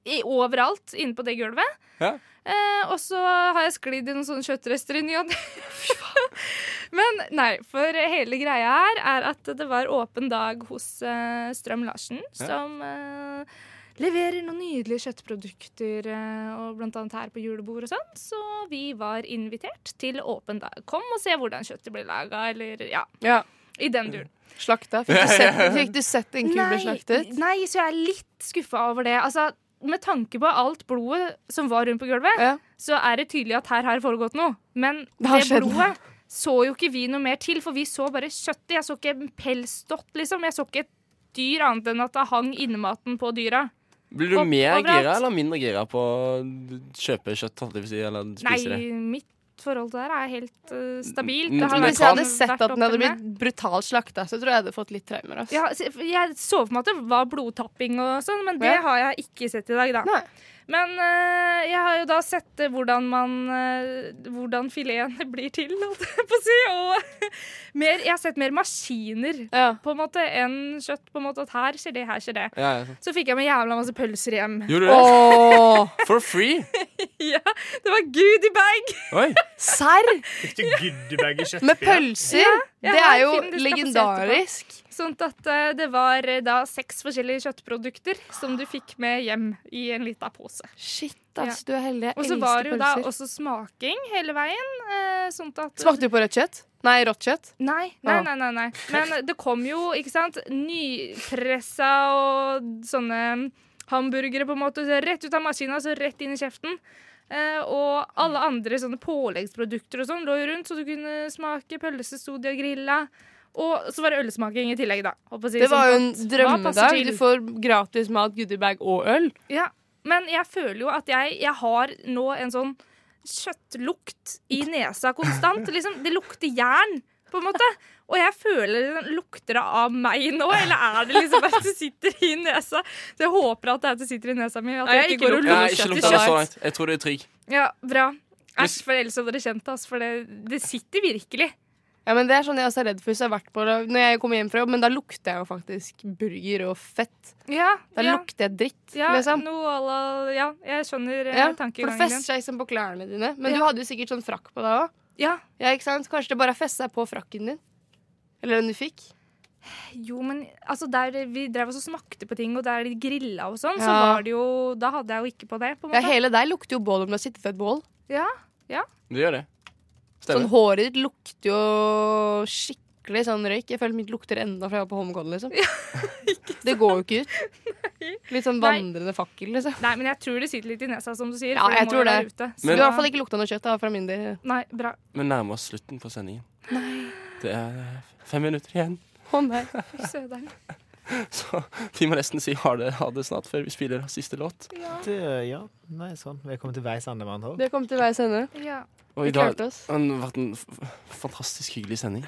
F: i, overalt inne på det gulvet.
B: Ja.
F: Eh, og så har jeg sklidd i noen sånne kjøttrester i ny og ne. Fy faen. Men nei, for hele greia her er at det var åpen dag hos eh, Strøm Larsen, som eh, leverer noen nydelige kjøttprodukter, eh, og blant annet her på julebord og sånn. Så vi var invitert til åpen dag. Kom og se hvordan kjøttet blir laga, eller ja,
H: Ja.
F: i den duren.
H: Slakta. Fikk du sett, fikk du sett en ku bli slaktet?
F: nei, så jeg er litt skuffa over det. Altså, med tanke på alt blodet som var rundt på gulvet,
H: Ja.
F: så er det tydelig at her har det foregått noe. Men
H: Det har
F: det,
H: skjedd noe.
F: blodet så jo ikke vi noe mer til, for vi så bare kjøttet. Jeg så ikke en pelsdott, liksom. Jeg så ikke et dyr annet enn at det hang innmaten på dyra.
B: Blir du
F: Opp-
B: mer
F: overalt.
B: gira eller mindre gira på å kjøpe kjøtt? holdt jeg på å si, Eller
F: Nei,
B: spise det?
F: midt forhold til det her er helt eh, stabilt.
B: Mm,
F: Det har
B: men-
F: vært
H: Hvis jeg hadde
F: sånn
H: sett
F: vært
H: at den hadde
F: opp
H: blitt
F: med.
H: brutalt slakta, så tror jeg jeg hadde fått litt traumer. ass.
F: ja, se- for Jeg så for meg at det var blodtapping og sånn, men det
H: Ja.
F: har jeg ikke sett i dag, da.
H: Nei.
F: Men eh, jeg har jo da sett eh, hvordan man eh, Hvordan fileten blir til, holdt jeg på å si. Og mer, jeg har sett mer maskiner
H: Ja.
F: på en måte enn kjøtt. på en måte At her skjer det, her skjer det.
B: Ja, ja.
F: Så fikk jeg med jævla masse pølser hjem.
B: Gjorde du det?
H: Åh,
B: For free?
F: Ja, Det var gud i bag!
B: Oi.
H: Serr?
D: Fikk du goodiebag i kjøttfilé?
H: Med pølser?
F: Ja,
H: det
F: her
H: er jo
F: er filmen du skal få se
H: legendarisk.
F: Sånn at eh, det var eh, da seks forskjellige kjøttprodukter som du fikk med hjem i en lita pose.
H: Shit, ass, du er heldig. Jeg
F: Og så
H: elsker
F: var det jo da
H: pølser.
F: også smaking hele veien. eh, Sånn at
H: Smakte du på rødt kjøtt? Nei, rått kjøtt.
F: Nei, nei,
H: Ah.
F: nei, nei, nei. Men det kom jo, ikke sant, nypressa og sånne hamburgere på en måte, så rett ut av maskina, så rett inn i kjeften. Eh, og alle andre sånne påleggsprodukter og sånn lå jo rundt, så du kunne smake pølse, sto de og grilla. Og så var det ølsmaking i tillegg, da. Håper å si,
H: Det var jo en
F: sånn at- hva passer
H: drømmedag.
F: til?
H: Du får gratis mat, goodiebag og øl.
F: Ja, men jeg føler jo at jeg, jeg har nå en sånn kjøttlukt i nesa konstant. Liksom, det lukter jern, på en måte. Og jeg føler den lukter det av meg nå, eller er det liksom at det sitter i nesa? Så jeg håper at det er at det sitter i nesa mi, at
H: Nei,
F: jeg
H: ikke
F: ikke går og
H: lukt.
B: Nei,
F: lukter
B: ikke
F: kjøtt i
B: lukta det så
F: kjøtt.
B: langt. Jeg tror det er trygg.
F: Ja, bra. Æsj,
B: Hvis-
F: for ellers hadde det kjent oss, for det, det sitter virkelig.
H: Ja, men Det er sånn jeg også er redd for hvis jeg har vært på Når jeg kommer hjem fra jobb, men da lukter jeg jo faktisk burger og fett.
F: Ja,
H: Da
F: ja,
H: lukter jeg dritt,
F: ja,
H: liksom.
F: noe à la Ja, jeg skjønner eh,
H: Ja, for det
F: tankegangen
H: fester
F: din.
H: seg liksom på klærne dine. Men
F: Ja.
H: du hadde jo sikkert sånn frakk på deg òg.
F: Ja,
H: Ja, ikke sant? Kanskje det bare festa seg på frakken din? Eller den du fikk?
F: Jo, men altså der vi drev oss og smakte på ting, og der de grilla og sånn, så
H: Ja.
F: var det jo Da hadde jeg jo ikke på det, på en
H: Ja,
F: måte.
H: Hele deg lukter jo bål om du har sittet ved et bål.
F: Ja,
B: Du gjør det.
H: Sånn
B: Stemmer.
H: Håret ditt lukter jo skikkelig sånn røyk. Jeg føler mitt lukter enda fra jeg var på Holmenkollen. Liksom. det går jo ikke ut. Litt sånn
F: Nei.
H: vandrende fakkel, liksom.
F: Nei, men jeg tror det sitter litt i nesa, som du sier.
H: Ja,
F: for
H: jeg
F: må
H: tror
F: jo
H: det.
F: være Ute, så-
H: Du har i hvert fall ikke lukta noe kjøtt da, fra min del.
F: Nei, bra.
B: Vi nærmer oss slutten på sendingen. Det er fem minutter igjen.
H: Å, nei.
F: Søderen.
B: Så vi må nesten si ha det, ha det snart før vi spiller siste låt.
D: Det, ja, nei, sånn. Vi er kommet til veis ende, med andre ord.
H: Det kom til veis ende.
F: Ja,
B: Og
H: Vi
B: i dag
H: klarte oss.
B: har det vært en f- fantastisk hyggelig sending.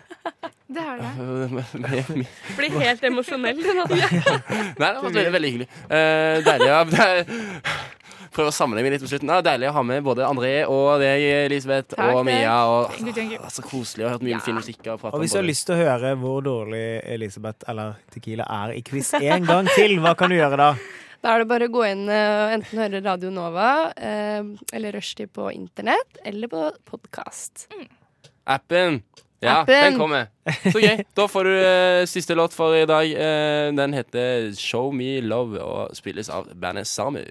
F: det er det.
B: Eh, med- med- med-
E: Blir helt emosjonell.
B: Nei, det har vært veldig, veldig hyggelig. Eh, deilig å det er- Prøv å sammenligne litt på slutten. Det er deilig å ha med både André og deg, Elisabeth,
H: Takk,
B: og Mia. Og,
F: Thank you, thank you.
B: Ah, så koselig. Jeg har hørt mye
F: Ja.
B: fin musikk. Og, pratet
D: Og
B: om
D: hvis du har
B: både-
D: lyst til å høre hvor dårlig Elisabeth eller Tequila er i quiz en gang til, hva kan du gjøre da?
H: Da er det bare å gå inn eh, og enten høre Radio Nova eh, eller Rushdie på internett eller på podkast.
B: Appen. Ja,
H: Appen.
B: den kommer. Så gøy. Da får du eh, siste låt for i dag. Eh, den heter Show Me Love og spilles av bandet Samu.